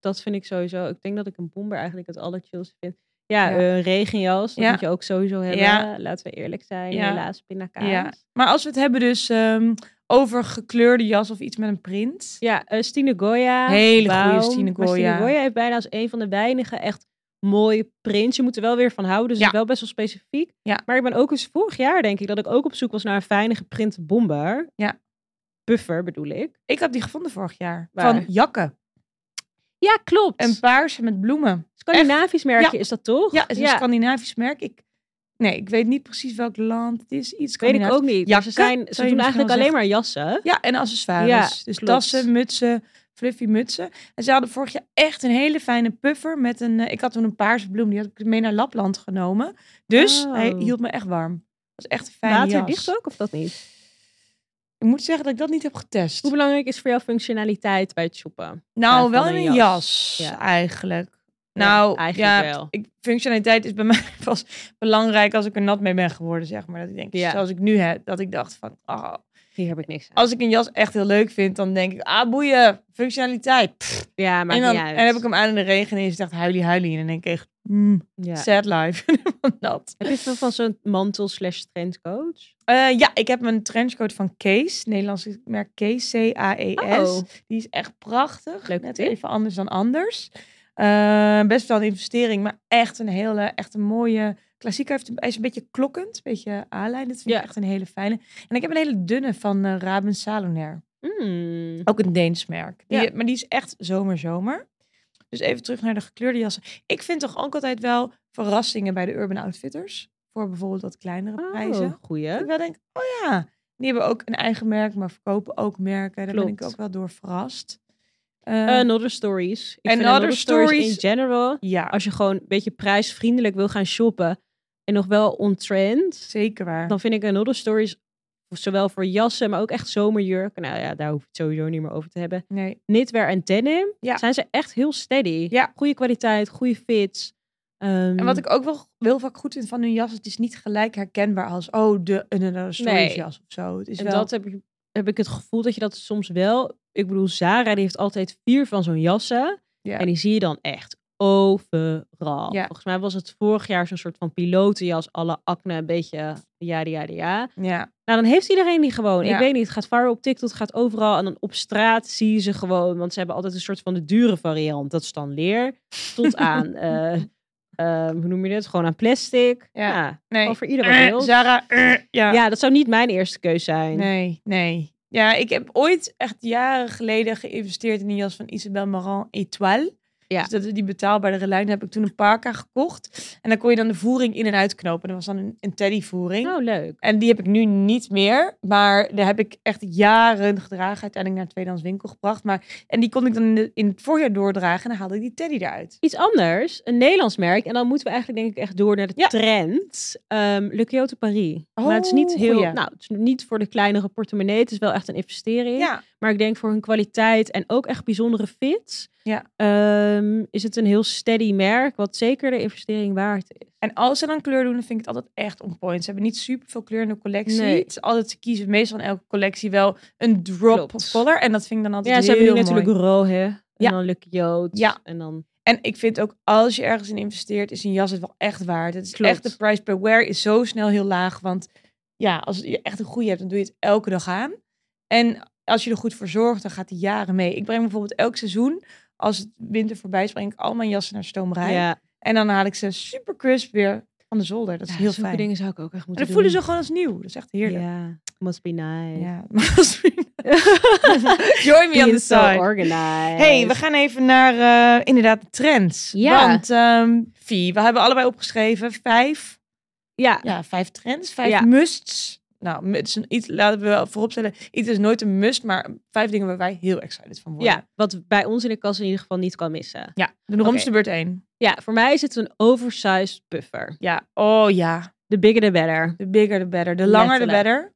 Dat vind ik sowieso. Ik denk dat ik een bomber eigenlijk het allerchillste vind. Ja,
Ja.
een regenjas. Dat
Ja.
moet je ook sowieso hebben.
Ja.
Laten we eerlijk zijn.
Ja.
Helaas, pindakaas.
Ja.
Ja,
Maar als we het hebben dus ehm, over gekleurde jas of iets met een print.
eh, Stine Goya.
Hele goede
Baum.
Stine
Maar
Goya.
Stine Goya heeft bijna als een van de weinigen echt mooie prints. Je moet er wel weer van houden. Dus
Ja.
het is wel best wel specifiek.
Ja.
Maar ik ben ook eens vorig jaar, denk ik, dat ik ook op zoek was naar een fijne geprinte bomber.
Ja.
Puffer bedoel ik.
Ik heb die gevonden vorig jaar.
Waar?
Van jakken.
Ja, klopt.
Een paarse met bloemen.
Scandinavisch merkje is dat toch?
Ja, het is een Scandinavisch merk. Ik, nee, ik weet niet precies welk land het is. Iets
weet ik
Scandinavisch.
ook niet.
Jakken,
ze zijn,
zou je
ze doen
misschien
eigenlijk
wel
alleen maar jassen.
Ja, en accessoires.
Ja,
dus
klopt.
tassen, mutsen, fluffy mutsen. En ze hadden vorig jaar echt een hele fijne puffer met een... eh, ik had toen een paarse bloem, die had ik mee naar Lapland genomen. Dus
Oh.
hij hield me echt warm. Dat was echt een fijne
Waterdicht
jas.
ook of dat niet?
Ik moet zeggen dat ik dat niet heb getest.
Hoe belangrijk is voor jou functionaliteit bij het shoppen?
Nou,
van
wel in
een
een jas,
jas. Ja.
eigenlijk. Nou, ja,
eigenlijk wel.
Ik, functionaliteit is bij mij pas belangrijk als ik er nat mee ben geworden, zeg maar. Dat ik denk,
Ja.
zoals ik nu heb, dat ik dacht van, oh,
Hier heb ik niks aan.
als ik een jas echt heel leuk vind, dan denk ik, ah, boeien, functionaliteit. Pff,
ja, maakt
en dan
niet uit.
en heb ik hem aan in de regen en is het echt huilie huilie. En dan denk ik echt, mm,
Ja.
sad life. Van dat.
Heb je veel van zo'n mantel slash trendcoach?
Eh, ja, ik heb een trenchcoat van Kees, Nederlands merk Kees, C-A-E-S.
Oh.
Die is echt prachtig.
Leuke
Net
tip.
even anders dan anders. Eh, best wel een investering, maar echt een hele, echt een mooie klassieker. Hij heeft- Hij is een beetje klokkend, een beetje A-lijn. Dat vind
Ja.
ik echt een hele fijne. En ik heb een hele dunne van eh Raben Salonair.
Mm.
Ook een Deens merk. Die,
Ja.
Maar die is echt zomer-zomer. Dus even terug naar de gekleurde jassen. Ik vind toch ook altijd wel verrassingen bij de Urban Outfitters. Voor bijvoorbeeld wat kleinere prijzen.
Oh, goeie.
Dat ik wel denk, oh ja, die hebben ook een eigen merk, maar verkopen ook merken. Daar ben ik
Klopt.
ook wel door verrast. Eh,
Another Stories. Ik
En
vind
Other
Another Stories,
Stories-
in general.
ja,
Als je gewoon een beetje prijsvriendelijk wil gaan shoppen en nog wel on trend,
zeker waar.
dan vind ik Another Stories zowel voor jassen, maar ook echt zomerjurken. Nou ja, daar hoef ik het sowieso niet meer over te hebben.
Nee.
knitwear en denim,
Ja.
zijn ze echt heel steady.
Ja.
Goede kwaliteit, goede fits. Ehm,
En wat ik ook wel heel vaak goed vind van hun jas, het is niet gelijk herkenbaar als, oh, de een Another Stories
Nee.
jas of zo. Het is
en
wel,
dat heb, ik- heb ik het gevoel dat je dat soms wel... Ik bedoel, Zara die heeft altijd vier van zo'n jassen.
Ja.
En die zie je dan echt overal.
Ja.
Volgens mij was het vorig jaar zo'n soort van pilotenjas. Alle acne, een beetje ja, ja, ja.
ja,
Nou, dan heeft iedereen die gewoon.
Ja.
Ik weet niet, het gaat viral op TikTok, het gaat overal. En dan op straat zie je ze gewoon. Want ze hebben altijd een soort van de dure variant. Dat is dan leer. Tot aan, eh, eh, hoe noem je dit? Gewoon aan plastic.
Ja.
Ja,
nee.
gewoon voor ieder wat
Eh,
wil.
Zara, eh, ja.
Ja, dat zou niet mijn eerste keus zijn.
Nee, nee. Ja, ik heb ooit echt jaren geleden geïnvesteerd in een jas van Isabel Marant Etoile.
Ja.
Dus dat is die betaalbare lijn. Daar heb ik toen een parka gekocht. En dan kon je dan de voering in en uitknopen. Dat was dan een, een teddyvoering.
Oh, leuk.
En die heb ik nu niet meer. Maar daar heb ik echt jaren gedragen. Uiteindelijk naar een tweedehands winkel gebracht. Maar, en die kon ik dan in, de- in het voorjaar doordragen. En dan haalde ik die teddy eruit.
Iets anders, een Nederlands merk. En dan moeten we eigenlijk denk ik echt door naar de
Ja.
trend. Ehm Le Kyoto Paris.
Oh,
maar het is niet heel,
goeie.
nou, het is niet voor de kleinere portemonnee. Het is wel echt een investering.
Ja,
Maar ik denk voor hun kwaliteit en ook echt bijzondere fits.
Ja.
ehm, is het een heel steady merk, wat zeker de investering waard is.
en als ze dan kleur doen, dan vind ik het altijd echt on point. Ze hebben niet super veel kleur in de collectie.
Nee.
Het is altijd te kiezen, meestal in elke collectie wel een drop
Klopt.
color. En dat vind ik dan altijd
Ja, ze
heel
hebben nu
mooi.
natuurlijk Rohe. En
Ja.
dan Lucky Jood.
Ja.
En dan
En ik vind ook, als je ergens in investeert, is een jas het wel echt waard. Het is
Klopt.
echt, de price per wear is zo snel heel laag. Want ja, als je echt een goede hebt, dan doe je het elke dag aan. En als je er goed voor zorgt, dan gaat die jaren mee. Ik breng bijvoorbeeld elk seizoen, als het winter voorbij is, breng ik al mijn jassen naar stoomrij.
ja,
En dan haal ik ze super crisp weer van de zolder. Dat is
Ja,
heel
zulke
fijn.
dingen zou ik ook echt
En
moeten
dan voelen
doen.
ze gewoon als nieuw. Dat is echt heerlijk.
Ja, must be nice.
Ja. Join me on
Being
the
so
side.
organized.
hey, we gaan even naar eh, inderdaad de trends.
Ja.
Want ehm Vie, we hebben allebei opgeschreven vijf,
Ja,
ja, vijf trends, vijf
Ja.
musts. Nou, het is een iets, laten we wel vooropstellen, iets is nooit een must, maar vijf dingen waar wij heel excited van worden.
ja, wat bij ons in de kast in ieder geval niet kan missen.
Ja, de romste beurt één.
Ja, voor mij is het een oversized puffer.
Ja, oh ja,
The bigger the better.
the bigger the better, de langer the
Letterlijk.
better.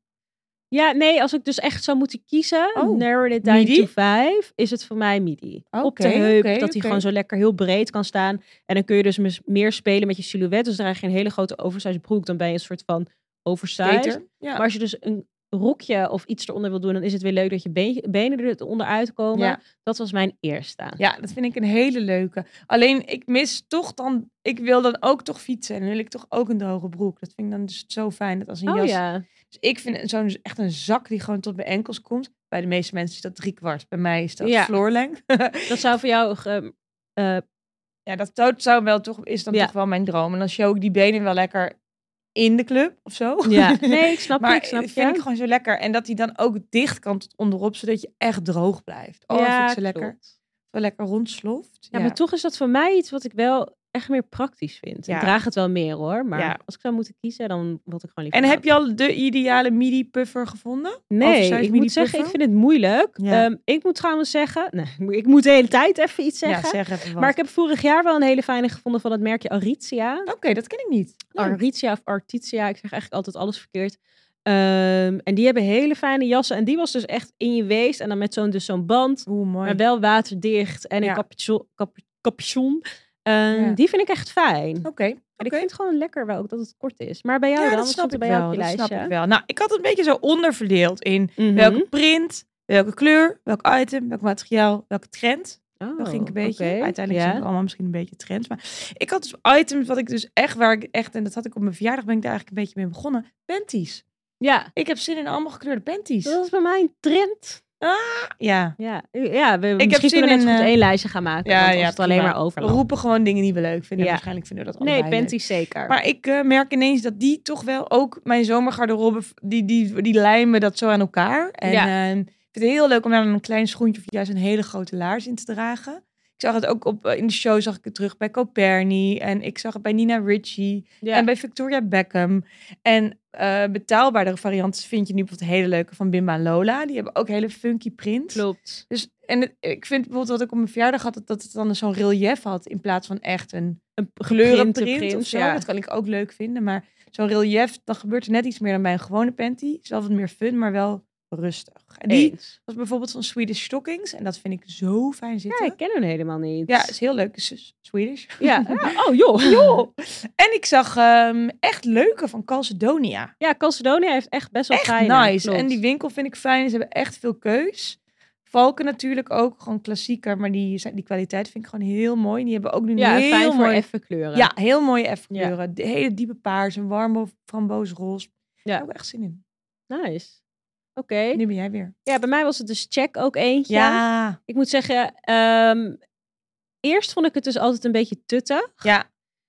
Ja, nee, als ik dus echt zou moeten kiezen,
Oh,
narrow it down
midi?
to vijf, is het voor mij midi. Op de
Oké,
heup,
oké,
dat hij
oké.
gewoon zo lekker heel breed kan staan. En dan kun je dus mis- meer spelen met je silhouet. Dus draag je een hele grote oversized broek, dan ben je een soort van oversized.
Beter. Ja.
Maar als je dus een rokje of iets eronder wil doen, dan is het weer leuk dat je beentje- benen eronder uitkomen.
Ja.
Dat was mijn eerste.
Ja, dat vind ik een hele leuke. Alleen ik mis toch dan, ik wil dan ook toch fietsen en dan wil ik toch ook een droge broek. Dat vind ik dan dus zo fijn dat als een
Oh
jas.
ja.
Dus ik vind zo'n echt een zak die gewoon tot mijn enkels komt. Bij de meeste mensen is dat drie kwart. Bij mij is dat
Ja.
floor length.
Dat zou voor jou ge- eh,
ja, dat zou- zou wel toch is dan
Ja.
toch wel mijn droom. En dan show ik die benen wel lekker in de club of zo.
Ja, nee, ik snap
maar
je, ik snap
dat
je.
vind ik gewoon zo lekker. En dat die dan ook dicht kan tot onderop, zodat je echt droog blijft. Oh, dat vind ik zo lekker,
klopt.
zo lekker rondsloft.
Ja, maar toch is dat voor mij iets wat ik wel echt meer praktisch vind.
Ja.
Ik draag het wel meer hoor, maar
Ja.
als ik zou moeten kiezen, dan wil ik gewoon liever.
En heb
dat.
je al de ideale midi puffer gevonden?
Nee,
oversized
ik
mini
moet zeggen, ik
puffer?
vind het moeilijk.
Ja.
Ehm, ik moet trouwens zeggen, nee, ik moet- ik moet de hele tijd even iets zeggen.
Ja, zeg even wat.
Maar ik heb vorig jaar wel een hele fijne gevonden van het merkje Aritzia.
Oké, dat ken ik niet. Oh,
Aritzia of Artitia, ik zeg eigenlijk altijd alles verkeerd. Ehm, en die hebben hele fijne jassen. En die was dus echt in je weest. En dan met zo'n dus zo'n band.
Hoe mooi.
Maar wel waterdicht en een
Ja.
capuchon. cap- capuchon. Ehm,
Ja.
Die vind ik echt fijn.
Oké.
En ik
oké.
vind het gewoon lekker wel ook dat het kort is. Maar bij jou
Ja,
dan?
dat
Wat
snap
stond er
ik
bij jou
wel.
op je
Dat snap
lijstje?
ik wel. Nou, ik had het een beetje zo onderverdeeld in
Mhm.
welke print, welke kleur, welk item, welk materiaal, welke trend.
Oh,
Dat ging ik een beetje.
oké.
Uiteindelijk
ja.
zijn het allemaal misschien een beetje trends. Maar ik had dus items wat ik dus echt, waar ik echt, en dat had ik op mijn verjaardag, ben ik daar eigenlijk een beetje mee begonnen. Panties.
Ja,
Ik heb zin in allemaal gekleurde panties.
dat is bij mij een trend.
Ja.
Ja, ja we,
heb
misschien
zin
kunnen we net zo
in,
goed
eh,
één lijstje gaan maken.
ja,
want als
ja,
het alleen
prima.
maar
We
overlapt.
roepen gewoon dingen die we leuk vinden.
Ja.
Waarschijnlijk vinden we dat
Nee,
allebei leuk.
panties zeker.
Maar ik eh, merk ineens dat die toch wel ook mijn zomergarderobe, die, die, die lijmen dat zo aan elkaar. En
Ja.
eh, ik vind het heel leuk om daar een klein schoentje of juist een hele grote laars in te dragen. Ik zag het ook op, eh, in de show zag ik het terug bij Coperni. En ik zag het bij Nina Ritchie
ja.
en bij Victoria Beckham. En eh, betaalbaardere varianten vind je nu bijvoorbeeld hele leuke van Bimba en Lola. Die hebben ook hele funky prints.
Klopt.
Dus, en het- ik vind bijvoorbeeld wat ik op mijn verjaardag had, dat- dat het dan zo'n relief had in plaats van echt een
Een geprinte
kleurenprint
print,
of zo.
ja.
Dat kan ik ook leuk vinden. Maar zo'n relief, dan gebeurt er net iets meer dan bij een gewone panty. Is wel wat meer fun, maar wel rustig. En die
Eens.
was bijvoorbeeld van Swedish Stockings. En dat vind ik zo fijn
Ja,
zitten.
ik ken hem helemaal niet.
Ja, is heel leuk. Is is Swedish.
ja. ja. Oh, joh. joh.
En ik zag ehm, echt leuke van Calcedonia.
Ja, Calcedonia heeft echt best wel
Echt
fijne.
nice.
klopt.
En die winkel vind ik fijn. Ze hebben echt veel keus. Valken natuurlijk ook, gewoon klassieker. Maar die, zijn- die kwaliteit vind ik gewoon heel mooi. En die hebben ook nu
ja,
heel
fijn voor
mooi
effe kleuren.
Ja, heel mooie
Ja.
F-kleuren. De Hele diepe paars, een warme framboosroze.
Ja.
Ja. Daar heb ik echt zin in.
Nice. Oké.
Nu ben jij weer.
Ja, bij mij was het dus check ook eentje.
Ja.
Ik moet zeggen, ehm, eerst vond ik het dus altijd een beetje tutten.
Ja.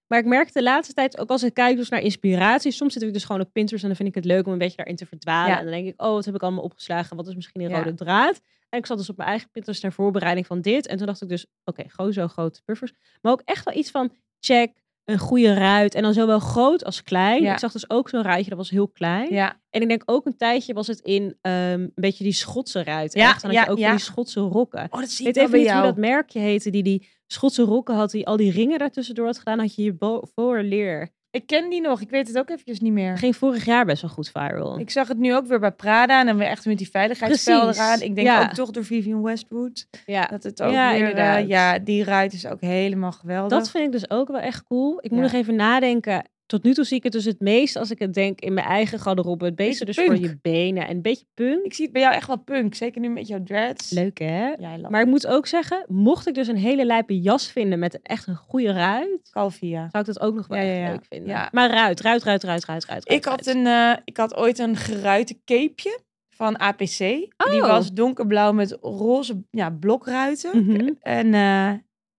Maar ik merk de laatste tijd, ook als ik kijk dus naar inspiratie, soms zit ik dus gewoon op Pinterest en dan vind ik het leuk om een beetje daarin te verdwalen.
Ja.
En dan denk ik, oh, wat heb ik allemaal opgeslagen? Wat is misschien een
Ja.
rode draad? En ik zat dus op mijn eigen Pinterest ter voorbereiding van dit. En toen dacht ik dus, oké, gewoon zo grote puffers. Maar ook echt wel iets van check, een goede ruit. En dan zowel groot als klein.
Ja.
Ik zag dus ook zo'n ruitje, dat was heel klein.
Ja.
En ik denk ook een tijdje was het in ehm, een beetje die Schotse ruit.
Ja,
echt. Dan had je
ja,
ook van
ja.
die Schotse rokken.
Oh, dat zie
Ik weet
ik wel
even
bij
niet hoe
jou.
dat merkje heette die die Schotse rokken had, die al die ringen daartussendoor had gedaan, had je je bo- voorleer.
Ik ken die nog. Ik weet het ook eventjes niet meer.
Dat ging vorig jaar best wel goed viral.
Ik zag het nu ook weer bij Prada. En dan weer echt met die veiligheidsspel
Precies.
eraan. Ik denk
Ja.
ook toch door Vivian Westwood.
ja.
Dat het ook
Ja,
weer... eh,
inderdaad.
ja, die ruit is ook helemaal geweldig.
Dat vind ik dus ook wel echt cool. Ik moet
Ja.
nog even nadenken. Tot nu toe zie ik het dus het meest, als ik het denk, in mijn eigen garderobe. Het meeste dus
Beetje
voor
punk.
je benen. En een beetje punk.
Ik zie het bij jou echt wel punk. Zeker nu met jouw dreads.
Leuk hè?
Jij lacht.
Maar ik moet ook zeggen, mocht ik dus een hele lijpe jas vinden met echt een goede ruit,
Calvia.
zou ik dat ook nog wel
Ja, ja,
echt
ja.
leuk vinden.
Ja.
Maar ruit, ruit, ruit, ruit, ruit, ruit.
Ik
ruit.
had, een, eh, ik had ooit een geruite capeje van APC. Die
Oh.
was donkerblauw met roze ja, blokruiten.
Mhm.
En eh,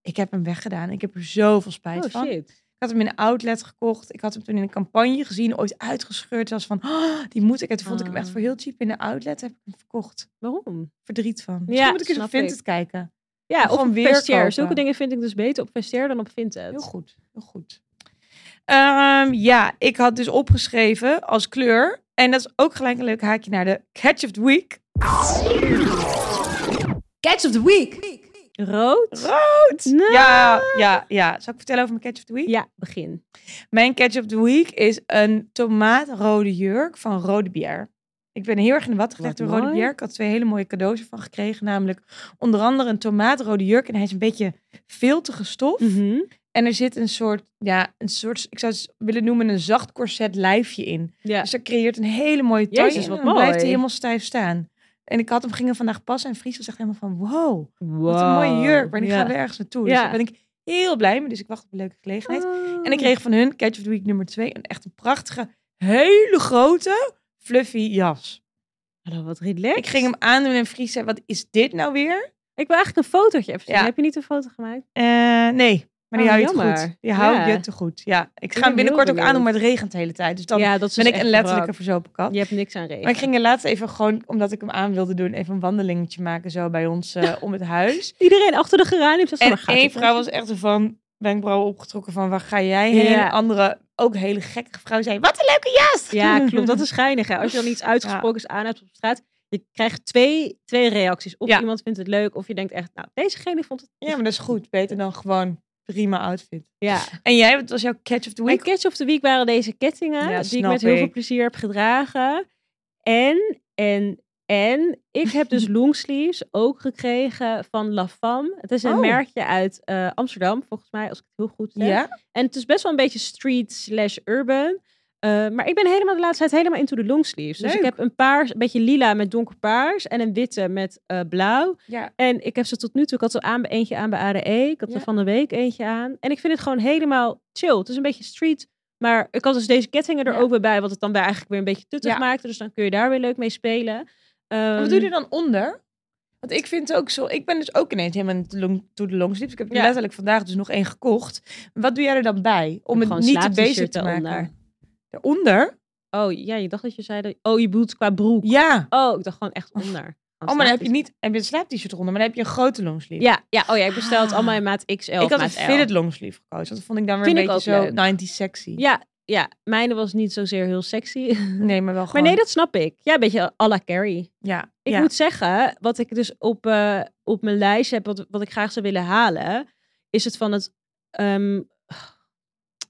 ik heb hem weggedaan. Ik heb er zoveel spijt
Oh
van.
shit.
had hem in een outlet gekocht. Ik had hem toen in een campagne gezien, ooit uitgescheurd. was van, oh, die moet ik. En toen vond ik hem
Ah.
echt voor heel cheap in een outlet. Heb ik hem verkocht.
Waarom?
Verdriet van.
Ja,
Misschien moet ik eens op
snap
Vinted kijken.
Ja,
Gewoon
op
weer kopen.
Vestiaire. Zulke dingen vind ik dus beter op Vestiaire dan op Vinted.
Heel goed, heel goed. Ehm, ja, ik had dus opgeschreven als kleur. En dat is ook gelijk een leuk haakje naar de Catch of the Week.
Catch of the week.
Rood?
Rood!
Nee.
Ja, ja, ja. Zal ik vertellen over mijn Catch of the Week?
Ja, begin.
Mijn catch of the week is een tomaatrode jurk van Rode Bier. Ik ben heel erg in de watten gelegd
Wat
door Rode
mooi.
Bier. Ik had twee hele mooie cadeaus ervan gekregen. Namelijk onder andere een tomaatrode jurk. En hij is een beetje filtige stof.
Mhm.
En er zit een soort, ja, een soort, ik zou het willen noemen een zacht corset lijfje in.
Ja.
Dus dat creëert een hele mooie taille.
Jezus,
en
wat
dan blijft hij
mooi.
helemaal stijf staan. En ik had hem gingen vandaag passen. En Friesel zegt helemaal van, wow,
Wow.
wat een mooie jurk. Maar ik
Ja.
ga weer ergens naartoe. Dus
Ja.
daar ben ik heel blij mee. Dus ik wacht op een leuke gelegenheid.
Oh.
En ik kreeg van hun Catch of the Week nummer 2 een echt een prachtige, hele grote, fluffy jas.
Hallo, wat relaxed.
Ik ging hem aandoen en Fries zei, wat is dit nou weer?
Ik wil eigenlijk een fotootje even zien.
Ja.
Heb je niet een foto gemaakt?
Eh, nee, maar die
Oh,
hou je
jammer.
het goed. Die hou
Ja.
je te goed, ja. Ik ga
ben
hem
heel
binnenkort ook
benieuwd.
aandoen, maar het regent de hele tijd. Dus dan
ja, dat is
ben
dus
ik
echt
een letterlijke
brak.
verzopen kat.
Je hebt niks aan regen.
Maar ik ging er laatst even gewoon, omdat ik hem aan wilde doen, even een wandelingetje maken zo bij ons eh, om het huis.
Iedereen achter de geraniums. zat zo,
En
waar gaat
één
dit
vrouw was
over?
echt zo van, wenkbrauwen opgetrokken van, waar ga jij heen?
Ja.
Een andere, ook een hele gekke vrouw, zei, wat een leuke jas!
Ja, klopt. Dat is geinig. Hè? Als je dan iets uitgesproken aan hebt op straat. Je krijgt twee, twee reacties. Of
Ja.
iemand vindt het leuk. Of je denkt echt, nou, dezegene vond het...
Ja, maar dat is goed. Beter dan gewoon prima outfit.
Ja.
En jij, wat was jouw catch of the
Mijn
week?
catch of the week waren deze kettingen.
Ja,
die ik
snap
met heel veel
ik.
plezier heb gedragen. En, en, en. Ik heb dus longsleeves ook gekregen van La Femme. Het is een
Oh.
merkje uit eh, Amsterdam, volgens mij, als ik het heel goed zeg.
Ja?
En het is best wel een beetje street slash urban. Eh, maar ik ben helemaal de laatste tijd helemaal into de longsleeves. Dus ik
Leuk.
heb een paars, een beetje lila met donkerpaars en een witte met eh, blauw.
Ja.
En ik heb ze tot nu toe, ik had er aan, eentje aan bij ADE. Ik had
Ja.
er van de week eentje aan. En ik vind het gewoon helemaal chill. Het is een beetje street. Maar ik had dus deze kettingen er
Ja.
ook weer bij, wat het dan weer eigenlijk weer een beetje tuttig
Ja.
maakte. Dus dan kun je daar weer leuk mee spelen.
En
Ehm,
wat doe je er dan onder? Want ik vind het ook zo... Ik ben dus ook ineens helemaal in de long, to the longsleeves. Ik heb er
Ja.
letterlijk vandaag dus nog één gekocht. Wat doe jij er dan bij? Om het
gewoon
niet te
slaap-t-shirt
bezig te maken.
eronder.
Eronder?
Oh ja, je dacht dat je zei dat. Oh, je bedoelt qua broek.
Ja.
Oh, ik dacht gewoon echt onder.
Oh, maar dan heb je niet... Heb je een slaapt-shirt eronder, maar dan heb je een grote longsleeve.
Ja, ja, oh ja, ik bestel het
Ah.
allemaal in maat XL.
ik had een
maat L.
fitted longsleeve gekozen. want Dat vond ik dan weer
Vind
een
ik
beetje
ook
zo
leuk.
90 sexy.
Ja, ja, mijne was niet zozeer heel sexy.
Nee, maar wel gewoon...
Maar nee, dat snap ik. Ja, een beetje à la Carrie.
Ja.
Ik
ja.
moet zeggen, wat ik dus op, eh, op mijn lijst heb, wat, wat ik graag zou willen halen, is het van het. ehm,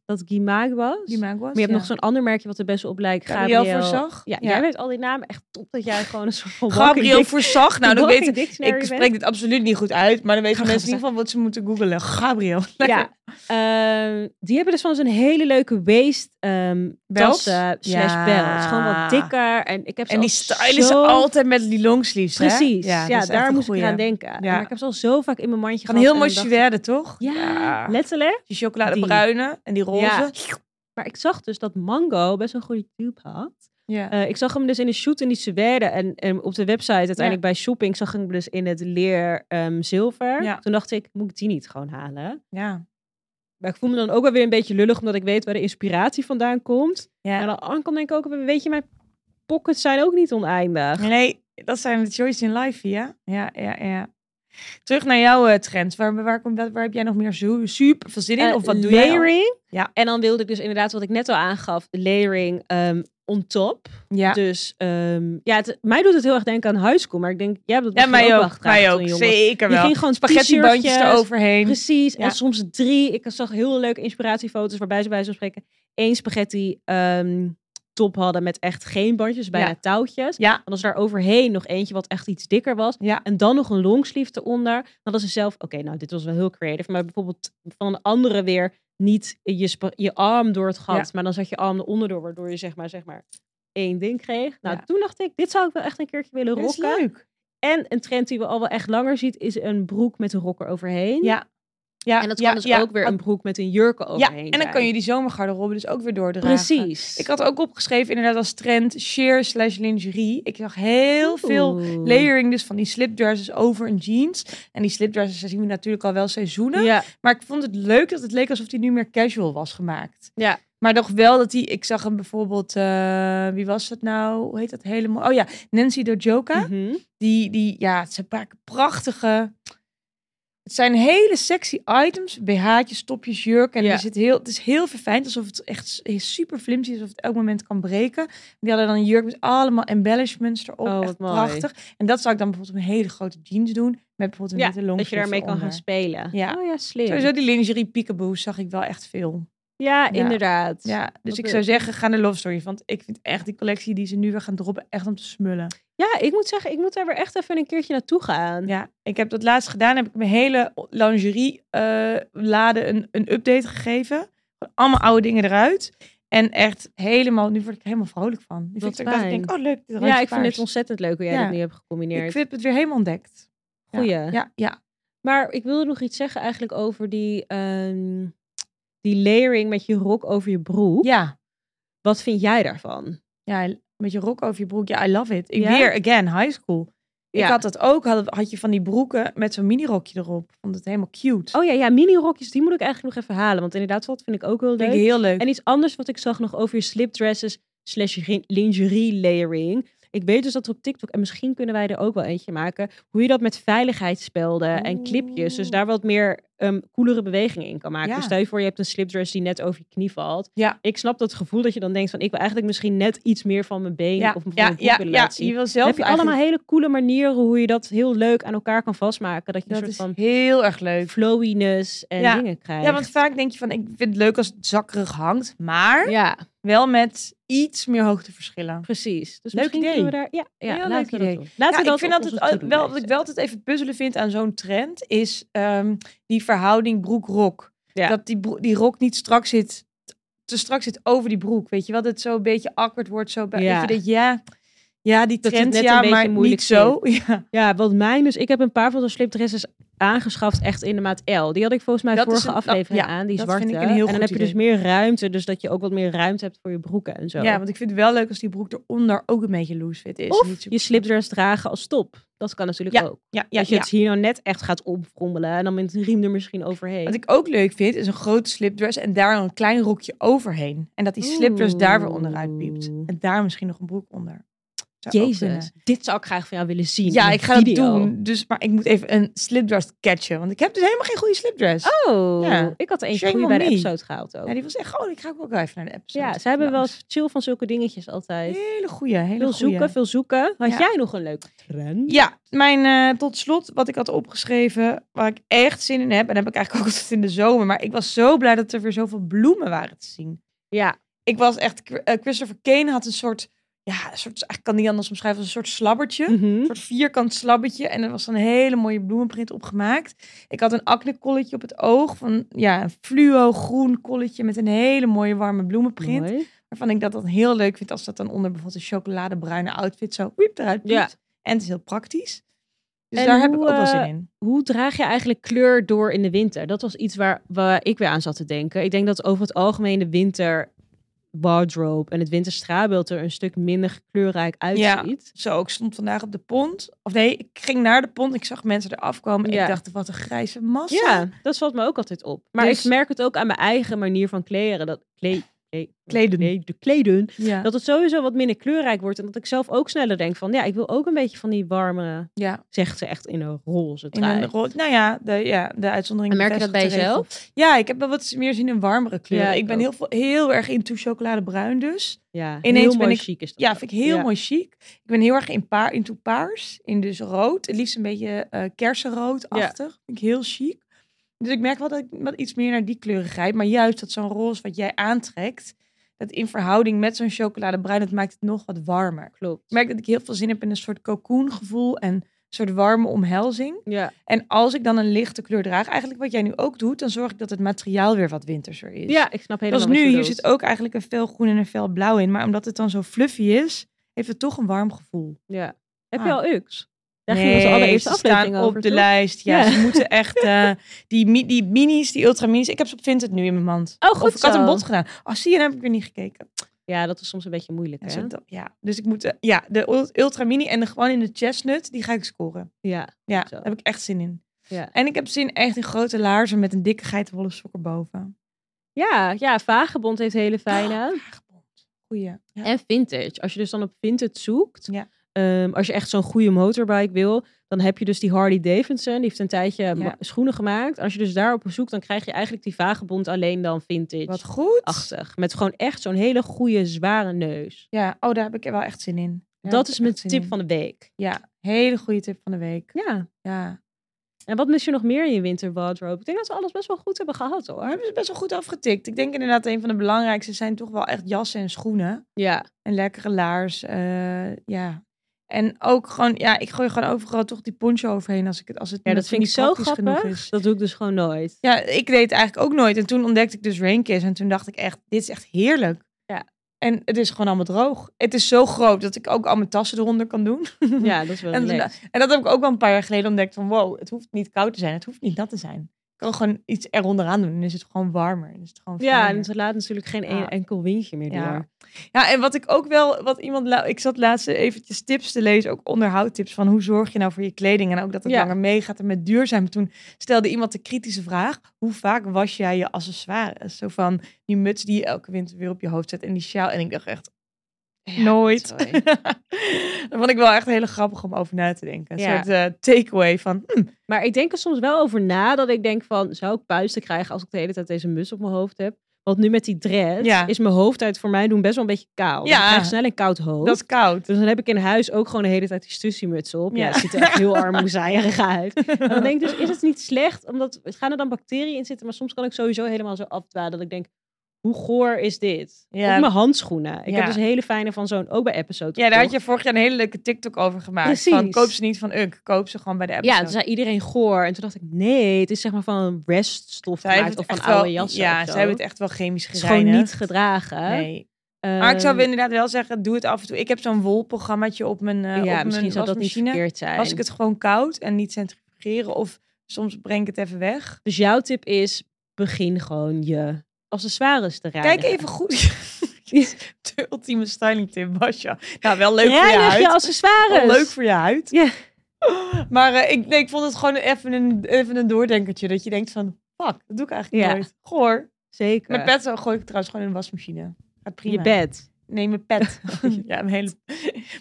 dat Guimag was.
Die maak was.
Maar je hebt nog zo'n ander merkje wat er best wel op lijkt. Gabriel.
Gabriel Verzag.
Ja, jij weet al die namen. Echt top dat jij gewoon een soort van.
Gabriel
walking dic-
Verzag. Nou, dan weet
walking dictionary
Ik
bent.
spreek dit absoluut niet goed uit, maar dan weten
Gabriel
mensen in ieder geval wat ze moeten googelen. Gabriel.
Ja, ehm, die hebben dus van zo'n hele leuke waist ehm
Belt?
tassen slash
Ja.
belt. Gewoon wat dikker. En ik heb ze
En die
al
stylen ze
zo-
altijd met die longsleeves, hè?
Precies, ja,
dat is echt
daar
een
moest ik
goeie.
aan denken. En Maar ik heb ze al zo vaak in mijn mandje
Van
gehad
heel
en
mooi
dan dacht
suède, toch?
ik, Ja, letterlijk.
Die chocoladebruine en die roze.
Maar ik zag dus dat Mango best een goede tube had.
Ja.
Eh, ik zag hem dus in een shoot in die suède. En, en op de website uiteindelijk bij Shopping zag ik hem dus in het leer ehm, zilver.
Ja.
Toen dacht ik, moet ik die niet gewoon halen?
ja.
Maar ik voel me dan ook wel weer een beetje lullig, omdat ik weet waar de inspiratie vandaan komt.
ja.
En dan aankomt denk ik ook, weet je, mijn pockets zijn ook niet oneindig.
Nee, dat zijn de choices in life, ja? Ja, ja, ja. Terug naar jouw eh, trends. Waar, waar, komt dat- waar heb jij nog meer zo, super veel zin in?
Eh,
of wat doe jij? al?
layering.
Ja.
En dan wilde ik dus inderdaad, wat ik net al aangaf, layering ehm, on top.
Ja,
Dus ehm, ja, het- mij doet het heel erg denken aan high school. Maar ik denk, jij hebt dat
ja
misschien
mij
wel
ook.
gedragen
Mij
toen
ook,
je jong was.
zeker
Je
wel.
ging gewoon
Spaghetti-bandjes
t-shirtjes,
eroverheen.
Precies.
Ja.
En soms drie. Ik zag heel leuke inspiratiefoto's waarbij ze bij zo'n spreken één spaghetti ehm, top hadden met echt geen bandjes, bijna
Ja.
touwtjes.
Ja,
En als daar overheen nog eentje wat echt iets dikker was.
Ja.
En dan nog een longsleeve eronder. Dan hadden ze zelf, oké, nou dit was wel heel creative. Maar bijvoorbeeld van een andere weer niet je, spa- je arm door het gat.
Ja.
Maar dan zat je arm eronder door. Waardoor je zeg maar, zeg maar één ding kreeg. Nou
Ja.
toen dacht ik, dit zou ik wel echt een keertje willen
dat is
rocken.
leuk.
En een trend die we al wel echt langer ziet is een broek met een rocker overheen.
Ja, Ja,
en dat
ja,
kan dus
ja,
ook weer
want-
een broek met een jurken
Ja,
overheen.
en dan
zijn.
kan je die zomergarderobe dus ook weer doordragen.
Precies.
Ik had ook opgeschreven inderdaad als trend sheer slash lingerie. Ik zag heel veel
Oeh.
layering dus van die slipdresses over een jeans. En die slipdresses daar zien we natuurlijk al wel seizoenen.
Ja,
Maar ik vond het leuk dat het leek alsof die nu meer casual was gemaakt.
Ja.
Maar toch wel dat die... Ik zag hem bijvoorbeeld... eh, wie was het nou? Hoe heet dat helemaal? Oh ja, Nancy Dojoka.
mhm.
Die, die, ja, het zijn vaak prachtige. Het zijn hele sexy items. BH'tjes, topjes, jurken. En
Ja.
er zit heel, het is heel verfijnd. Alsof het echt s- super flimsy is. Alsof het elk moment kan breken. Die hadden dan een jurk met allemaal embellishments erop.
Oh, wat
echt
mooi.
prachtig. En dat zou ik dan bijvoorbeeld een hele grote jeans doen. Met bijvoorbeeld een
Ja,
witte long
dat je daarmee kan gaan spelen.
Ja.
Oh ja, slim.
Sowieso die lingerie peekaboo zag ik wel echt veel.
Ja,
Ja.
inderdaad.
Ja, dus
Dat
ik
we-
zou zeggen, ga naar Love Story. Want ik vind echt die collectie die ze nu weer gaan droppen echt om te smullen.
Ja, ik moet zeggen, ik moet daar weer echt even een keertje naartoe gaan.
Ja, ik heb dat laatst gedaan. Heb ik mijn hele lingerie eh lade een, een update gegeven. Van Allemaal oude dingen eruit. En echt helemaal, nu word ik er helemaal vrolijk van. Nu
Wat
vind ik, het ook dat ik
fijn.
denk, oh leuk, dit
Ja,
ruikt
ik vind
paars.
het ontzettend leuk hoe jij
Ja.
dat nu hebt gecombineerd.
Ik heb het weer helemaal ontdekt. Ja,
Goeie.
Ja, ja.
Maar ik wilde nog iets zeggen eigenlijk over die, ehm, die layering met je rok over je broek.
ja.
Wat vind jij daarvan?
ja, met je rok over je broek. Ja, I love it. Ik
Ja?
Weer, again, high school.
Ja.
Ik had dat ook, had, had je van die broeken met zo'n minirokje erop. Vond het helemaal cute.
Oh ja, ja, mini-rokjes, die moet ik eigenlijk nog even halen. Want inderdaad, dat vind ik ook heel
vind
leuk.
ik heel leuk.
En iets anders wat ik zag nog over je slipdresses slash ri- lingerie layering. Ik weet dus dat er op TikTok, en misschien kunnen wij er ook wel eentje maken, hoe je dat met veiligheidsspelden en clipjes, dus
Oeh.
daar wat meer ehm, coolere bewegingen in kan maken.
Ja.
Dus stel je voor, je hebt een slipdress die net over je knie valt.
Ja.
Ik snap dat gevoel dat je dan denkt van, ik wil eigenlijk misschien net iets meer van mijn been
ja,
of van
ja,
mijn broek
ja,
willen
ja,
laten zien.
je wil zelf
Dan heb je
eigenlijk-
allemaal hele coole manieren hoe je dat heel leuk aan elkaar kan vastmaken. Dat je
Dat
een
is
soort
heel erg leuk.
van flowiness en
Ja.
dingen krijgt.
Ja, want vaak denk je van, ik vind het leuk als het zakkerig hangt, maar
ja.
wel met iets meer hoogteverschillen.
Precies. Dus
Leuk
misschien
idee.
kunnen we daar... Ja, ja
Heel
laten
leuk
we
idee.
dat doen. Laten we
ja,
dat eh,
ik vind
op
altijd
onze
al- wel,
to-do-lijst
wat ik
zetten.
wel altijd even puzzelen vind aan zo'n trend, is ehm, die verhouding broek-rok.
Ja.
Dat die, broek- die rok niet strak zit, te strak zit over die broek. Weet je wel, dat het zo een beetje awkward wordt. Zo bij,
Ja.
Dat je denkt, ja, ja die
Dat je
trend,
het net een
ja,
beetje
maar
moeilijk
niet zo. Ja,
Ja, wat mijn... Dus ik heb een paar van de slipdresses aangeschaft echt in de maat L. Die had ik volgens mij
Dat is
vorige
een- dat-
aflevering
ja,
aan, die
dat
zwarte.
vind ik een heel
en dan
goed
heb je dus meer ruimte, dus dat je ook wat meer ruimte hebt voor je broeken en zo.
ja, want ik vind het wel leuk als die broek eronder ook een beetje loose fit is.
of
Niet zo-
je slipdress dragen als top. Dat kan natuurlijk ook.
Ja, ja,
dat je
ja.
het hier nou net echt gaat opfrommelen en dan met een riem er misschien overheen.
Wat ik ook leuk vind, is een grote slipdress en daar een klein rokje overheen. En dat die slipdress daar weer onderuit piept.
Oeh.
En daar misschien nog een broek onder. Zou ook
Jezus,
kunnen.
dit zou ik graag van jou willen zien. in
Ja,
een
ik ga dat
video.
doen. Dus, maar ik moet even een slipdress catchen. Want ik heb dus helemaal geen goede slipdress.
Oh,
Ja.
ik had er eentje
Shame
goeie
on
bij de
me.
episode gehaald ook.
Ja, die was echt... Oh, ik ga ook wel even naar de episode.
Ja, ze hebben wel
langs.
eens chill van zulke dingetjes altijd.
Hele goede, hele
Veel
goede.
zoeken, veel zoeken. Had
Ja.
jij nog een leuke trend?
Ja, mijn eh, tot slot, wat ik had opgeschreven, waar ik echt zin in heb. En dat heb ik eigenlijk ook altijd in de zomer. Maar ik was zo blij dat er weer zoveel bloemen waren te zien.
Ja.
ik was echt. eh, Christopher Kane had een soort. Ja, een soort, ik kan het niet anders omschrijven als een soort slabbertje.
Mhm.
Een soort vierkant slabbertje. En er was een hele mooie bloemenprint op gemaakt. Ik had een acne colletje op het oog. Van, ja, een fluo groen colletje met een hele mooie warme bloemenprint.
Mooi.
Waarvan ik dat dan heel leuk vind als dat dan onder bijvoorbeeld een chocoladebruine outfit zo wiep eruit piept.
Ja.
En het is heel praktisch. Dus
En
daar heb ik
hoe,
ook wel zin
eh,
in.
Hoe draag je eigenlijk kleur door in de winter? Dat was iets waar, waar ik weer aan zat te denken. Ik denk dat over het algemeen de winter wardrobe en het winterstraatbeeld er een stuk minder kleurrijk uitziet.
Zo, ik stond vandaag op de pont. Of nee, ik ging naar de pont. Ik zag mensen eraf komen. En
Ja.
ik dacht, wat een grijze massa.
dat valt me ook altijd op. Maar
Dus-
ik merk het ook aan mijn eigen manier van kleren. Dat kle- kle-
Kleden.
de kleden.
Ja.
Dat het sowieso wat minder kleurrijk wordt. En dat ik zelf ook sneller denk van... ja, ik wil ook een beetje van die warme...
Ja,
zegt ze echt in een roze
in
trui.
een rood. Nou ja, de, ja, de uitzondering.
En merk je dat bij
bevestigt de regel.
jezelf?
Ja, ik heb wel wat meer zin in warmere kleuren.
Ja, ik
ik ben
ook.
heel, veel- heel erg into chocoladebruin dus.
Ja,
Ineens
heel
ben
mooi
ik-
chic is dat
Ja,
ook.
vind ik heel
Ja.
mooi chic. Ik ben heel erg in paar, into paars. In dus rood. Het liefst een beetje eh kersenroodachtig. Vind ik heel chic. Dus ik merk wel dat ik wat iets meer naar die kleuren grijp. Maar juist dat zo'n roze wat jij aantrekt... dat in verhouding met zo'n chocoladebruin... dat maakt het nog wat warmer.
Klopt.
Ik merk dat ik heel veel zin heb in een soort cocoongevoel... en een soort warme omhelzing.
Ja.
En als ik dan een lichte kleur draag, eigenlijk wat jij nu ook doet, dan zorg ik dat het materiaal weer wat winterser is.
ja, ik snap helemaal
Zoals
wat je
nu, hier
bedoelt.
zit ook eigenlijk een fel groen en een fel blauw in. Maar omdat het dan zo fluffy is, heeft het toch een warm gevoel.
Ja. Heb je
Ah.
al UX? Daar ging onze allereerste
ze
aflevering
staan
over,
op de
toch?
lijst. Ja,
Ja.
ze moeten echt... eh, die, mi- die minis, die ultraminis. Ik heb ze op Vinted nu in mijn mand.
Oh, goed
of ik had
zo.
een bod gedaan. Oh, zie je, dan heb ik weer niet gekeken.
Ja, dat is soms een beetje moeilijk,
Ja,
hè?
zo dat- ja. Dus ik moet... eh, ja, de ul- ultramini en de, gewoon in de chestnut, die ga ik scoren.
Ja.
Ja,
Zo.
daar heb ik echt zin in.
Ja.
En ik heb zin echt in grote laarzen met een dikke geitenwolle sok erboven.
Ja, ja, Vagebond heeft hele fijne.
Vagebond. Goeie. Ja.
En vintage. Als je dus dan op vintage zoekt,
Ja.
ehm, als je echt zo'n goede motorbike wil, dan heb je dus die Harley Davidson. Die heeft een tijdje ma- schoenen gemaakt. Als je dus daarop zoekt, dan krijg je eigenlijk die vagebond alleen dan
Wat
vintage.
goed.
Achtig. Met gewoon echt zo'n hele goede, zware neus.
Ja, oh, daar heb ik wel echt zin in. Ja,
dat
daar
is
heb ik
mijn
echt zin
tip
in.
van de week.
Ja, hele goede tip van de week.
Ja.
Ja.
En wat mis je nog meer in je winter wardrobe? Ik denk dat we alles best wel goed hebben gehad
We
hoor.
hebben ze best wel goed afgetikt. Ik denk inderdaad een van de belangrijkste zijn toch wel echt jassen en schoenen.
Ja.
En lekkere laars. eh, ja. En ook gewoon, ja, ik gooi gewoon overal toch die poncho overheen als ik het als het
Ja,
net
dat vind ik
niet
zo
praktisch genoeg
grappig.
is.
Dat doe ik dus gewoon nooit.
Ja, ik deed het eigenlijk ook nooit. En toen ontdekte ik dus Rainkiss. En toen dacht ik echt, dit is echt heerlijk.
Ja.
En het is gewoon allemaal droog. Het is zo groot dat ik ook al mijn tassen eronder kan doen.
Ja, dat is wel
En
relaxed.
toen- En dat heb ik ook wel een paar jaar geleden ontdekt van wow, het hoeft niet koud te zijn, het hoeft niet nat te zijn. Ik kan gewoon iets eronderaan doen en is het gewoon warmer. En is het gewoon
Ja, en
fijner.
het laat natuurlijk geen
Ja.
een- enkel windje meer door.
Ja. ja, en wat ik ook wel, wat iemand, la- ik zat laatst eventjes tips te lezen, ook onderhoudtips van hoe zorg je nou voor je kleding en ook dat het
Ja.
langer meegaat en met duurzaam. Toen stelde iemand de kritische vraag, hoe vaak was jij je accessoires? Zo van die muts die je elke winter weer op je hoofd zet en die sjaal. En ik dacht echt, nooit.
sorry.
dat vond ik wel echt heel grappig om over na te denken. Een
Ja.
soort eh, takeaway van, hm,
Maar ik denk er soms wel over na dat ik denk van, zou ik puisten krijgen als ik de hele tijd deze mus op mijn hoofd heb? Want nu met die dread
Ja.
is mijn hoofdhuid voor mij doen best wel een beetje koud.
Ja.
Ik krijg snel een koud hoofd.
dat is koud.
Dus dan heb ik in huis ook gewoon de hele tijd die stussymuts op. Ja,
Ja.
het ziet er echt heel armoezaaierig uit. En dan denk ik dus, is het niet slecht? Omdat, gaan er dan bacteriën in zitten? Maar soms kan ik sowieso helemaal zo afdwalen dat ik denk, hoe goor is dit?
Ja.
Of mijn handschoenen. Ik
Ja.
heb dus hele fijne van zo'n, ook bij episode.
Ja, daar had
gekocht.
je vorig jaar een hele leuke TikTok over gemaakt.
Precies.
Van, koop ze niet van Unk, koop ze gewoon bij de app.
Ja, toen zei iedereen goor. En toen dacht ik, nee, het is zeg maar van reststof gemaakt of van
wel,
oude jassen.
Ja,
of zo.
ze hebben het echt wel chemisch
Het is gewoon
gereinigd.
niet gedragen.
Nee.
Ehm,
Maar ik zou inderdaad wel zeggen, doe het af en toe. Ik heb zo'n wolprogrammaatje op mijn eh
ja,
op
misschien
mijn
zou dat niet
wasmachine.
verkeerd zijn.
Was ik het gewoon koud en niet centrifugeren of soms breng ik het even weg.
Dus jouw tip is, begin gewoon je accessoires te reinigen.
Kijk even goed. de ultieme styling tip, Basja. Nou, wel leuk voor je
Reinig
huid.
je accessoires.
Wel leuk voor je huid.
Ja.
Maar eh, ik, nee, ik vond het gewoon even een, even een doordenkertje. Dat je denkt van, fuck, dat doe ik eigenlijk
Ja.
nooit. Goor.
Zeker.
Mijn pet gooi ik trouwens gewoon in de wasmachine. Gaat prima.
Je bed.
Nee, mijn pet.
Oh,
ja, mijn hele...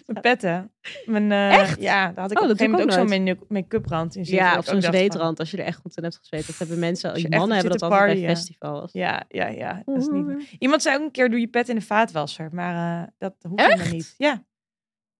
Mijn petten. Mijn, eh,
Echt?
Ja, daar had ik
Oh,
op een
dat
gegeven
doe ik
moment ook zo'n
ook
make- make-up rand in zitten.
Ja,
dat
of
ik
zo'n
ook dacht van-
zweetrand als je er echt goed in hebt gezweet. Dat hebben mensen,
Als je echt
mannen
op
hebben dat
zit
altijd
te
bij
partyen.
festivals.
Ja, ja, ja. Dat is
Oh.
niet... Iemand zei ook een keer, doe je pet in de vaatwasser. Maar eh, dat hoeft
Echt?
helemaal niet. Ja.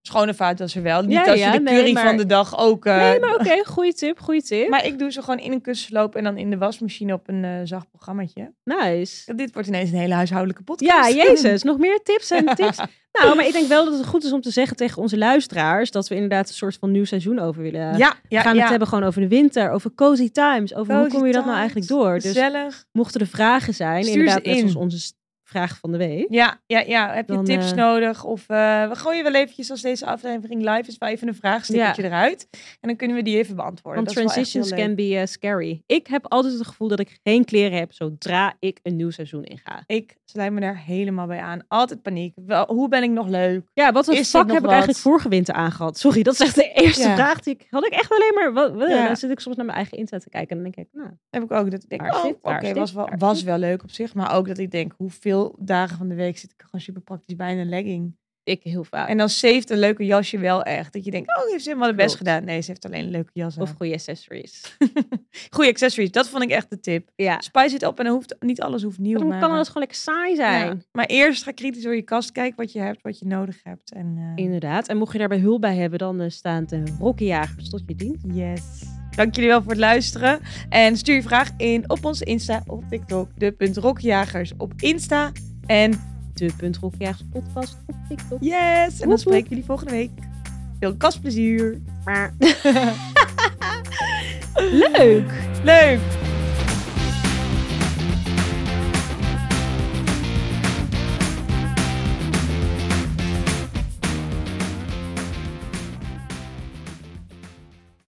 Schone vaatwasser wel. Niet
Ja,
als je
ja,
de
nee,
curry
maar-
van de dag ook... eh,
Nee, maar oké, goede tip, goede tip.
Maar ik doe ze gewoon in een kussenloop en dan in de wasmachine op een eh, zacht programmaatje.
nice.
Dit wordt ineens een hele huishoudelijke podcast.
Ja, Jezus, nog meer tips en tips. Nou, maar ik denk wel dat het goed is om te zeggen tegen onze luisteraars dat we inderdaad een soort van nieuw seizoen over willen.
Ja, ja,
we gaan
ja.
het hebben gewoon over de winter, over cozy times, over hoe
Cozy
kom je dat nou
times,
eigenlijk door. Dus
Gezellig.
mochten er vragen zijn,
Stuur ze
inderdaad net
in.
zoals onze s- vraag van de week.
Ja, ja, ja. Heb je
Dan,
tips
eh,
nodig? Of eh, we gooien wel eventjes als deze aflevering live is, wel even een vraagstukje eruit. En dan kunnen we die even beantwoorden.
Want
Dat is wel echt heel
transitions
leuk.
can be eh, scary. Ik heb altijd het gevoel dat ik geen kleren heb zodra ik een nieuw seizoen inga.
Ik sluit me daar helemaal bij aan. Altijd paniek. Wel, hoe ben ik nog leuk?
Ja, wat een
Is dit
fuck
nog
heb ik
wat?
eigenlijk vorige winter aangehad? Sorry, dat is echt de eerste
Ja.
vraag die ik... Had ik echt alleen maar... Wat, wat-
Ja.
Dan zit ik soms naar mijn eigen Insta te kijken en dan denk ik... Nou,
Heb ik ook dat ik denk,
Waar is
oh,
dit?
oké,
Waar is dit?
was, wel,
Waar is
was
dit?
wel leuk op zich. Maar ook dat ik denk, hoeveel dagen van de week zit ik gewoon super praktisch bij in een legging.
ik heel vaak.
En dan ze heeft een leuke jasje wel echt. Dat je denkt, oh, heeft ze helemaal het best
Klopt.
gedaan. Nee, ze heeft alleen een leuke jas aan.
Of goede accessories.
Goede accessories, dat vond ik echt de tip.
Ja.
Spice het op en dan hoeft, niet alles hoeft nieuw.
Dan
maar,
kan
eh,
alles gewoon lekker saai zijn.
Ja, maar eerst ga kritisch door je kast kijken wat je hebt, wat je nodig hebt. En eh,
Inderdaad. En mocht je daarbij hulp bij hebben, dan eh, staan de rokkenjagers tot je dient.
yes. Dank jullie wel voor het luisteren. En stuur je vraag in op onze Insta of TikTok. De.rokjagers op Insta. En
De punt rokkenjagers podcast op TikTok.
yes! En
woep.
dan spreken jullie volgende week. Veel kastplezier.
Leuk!
Leuk!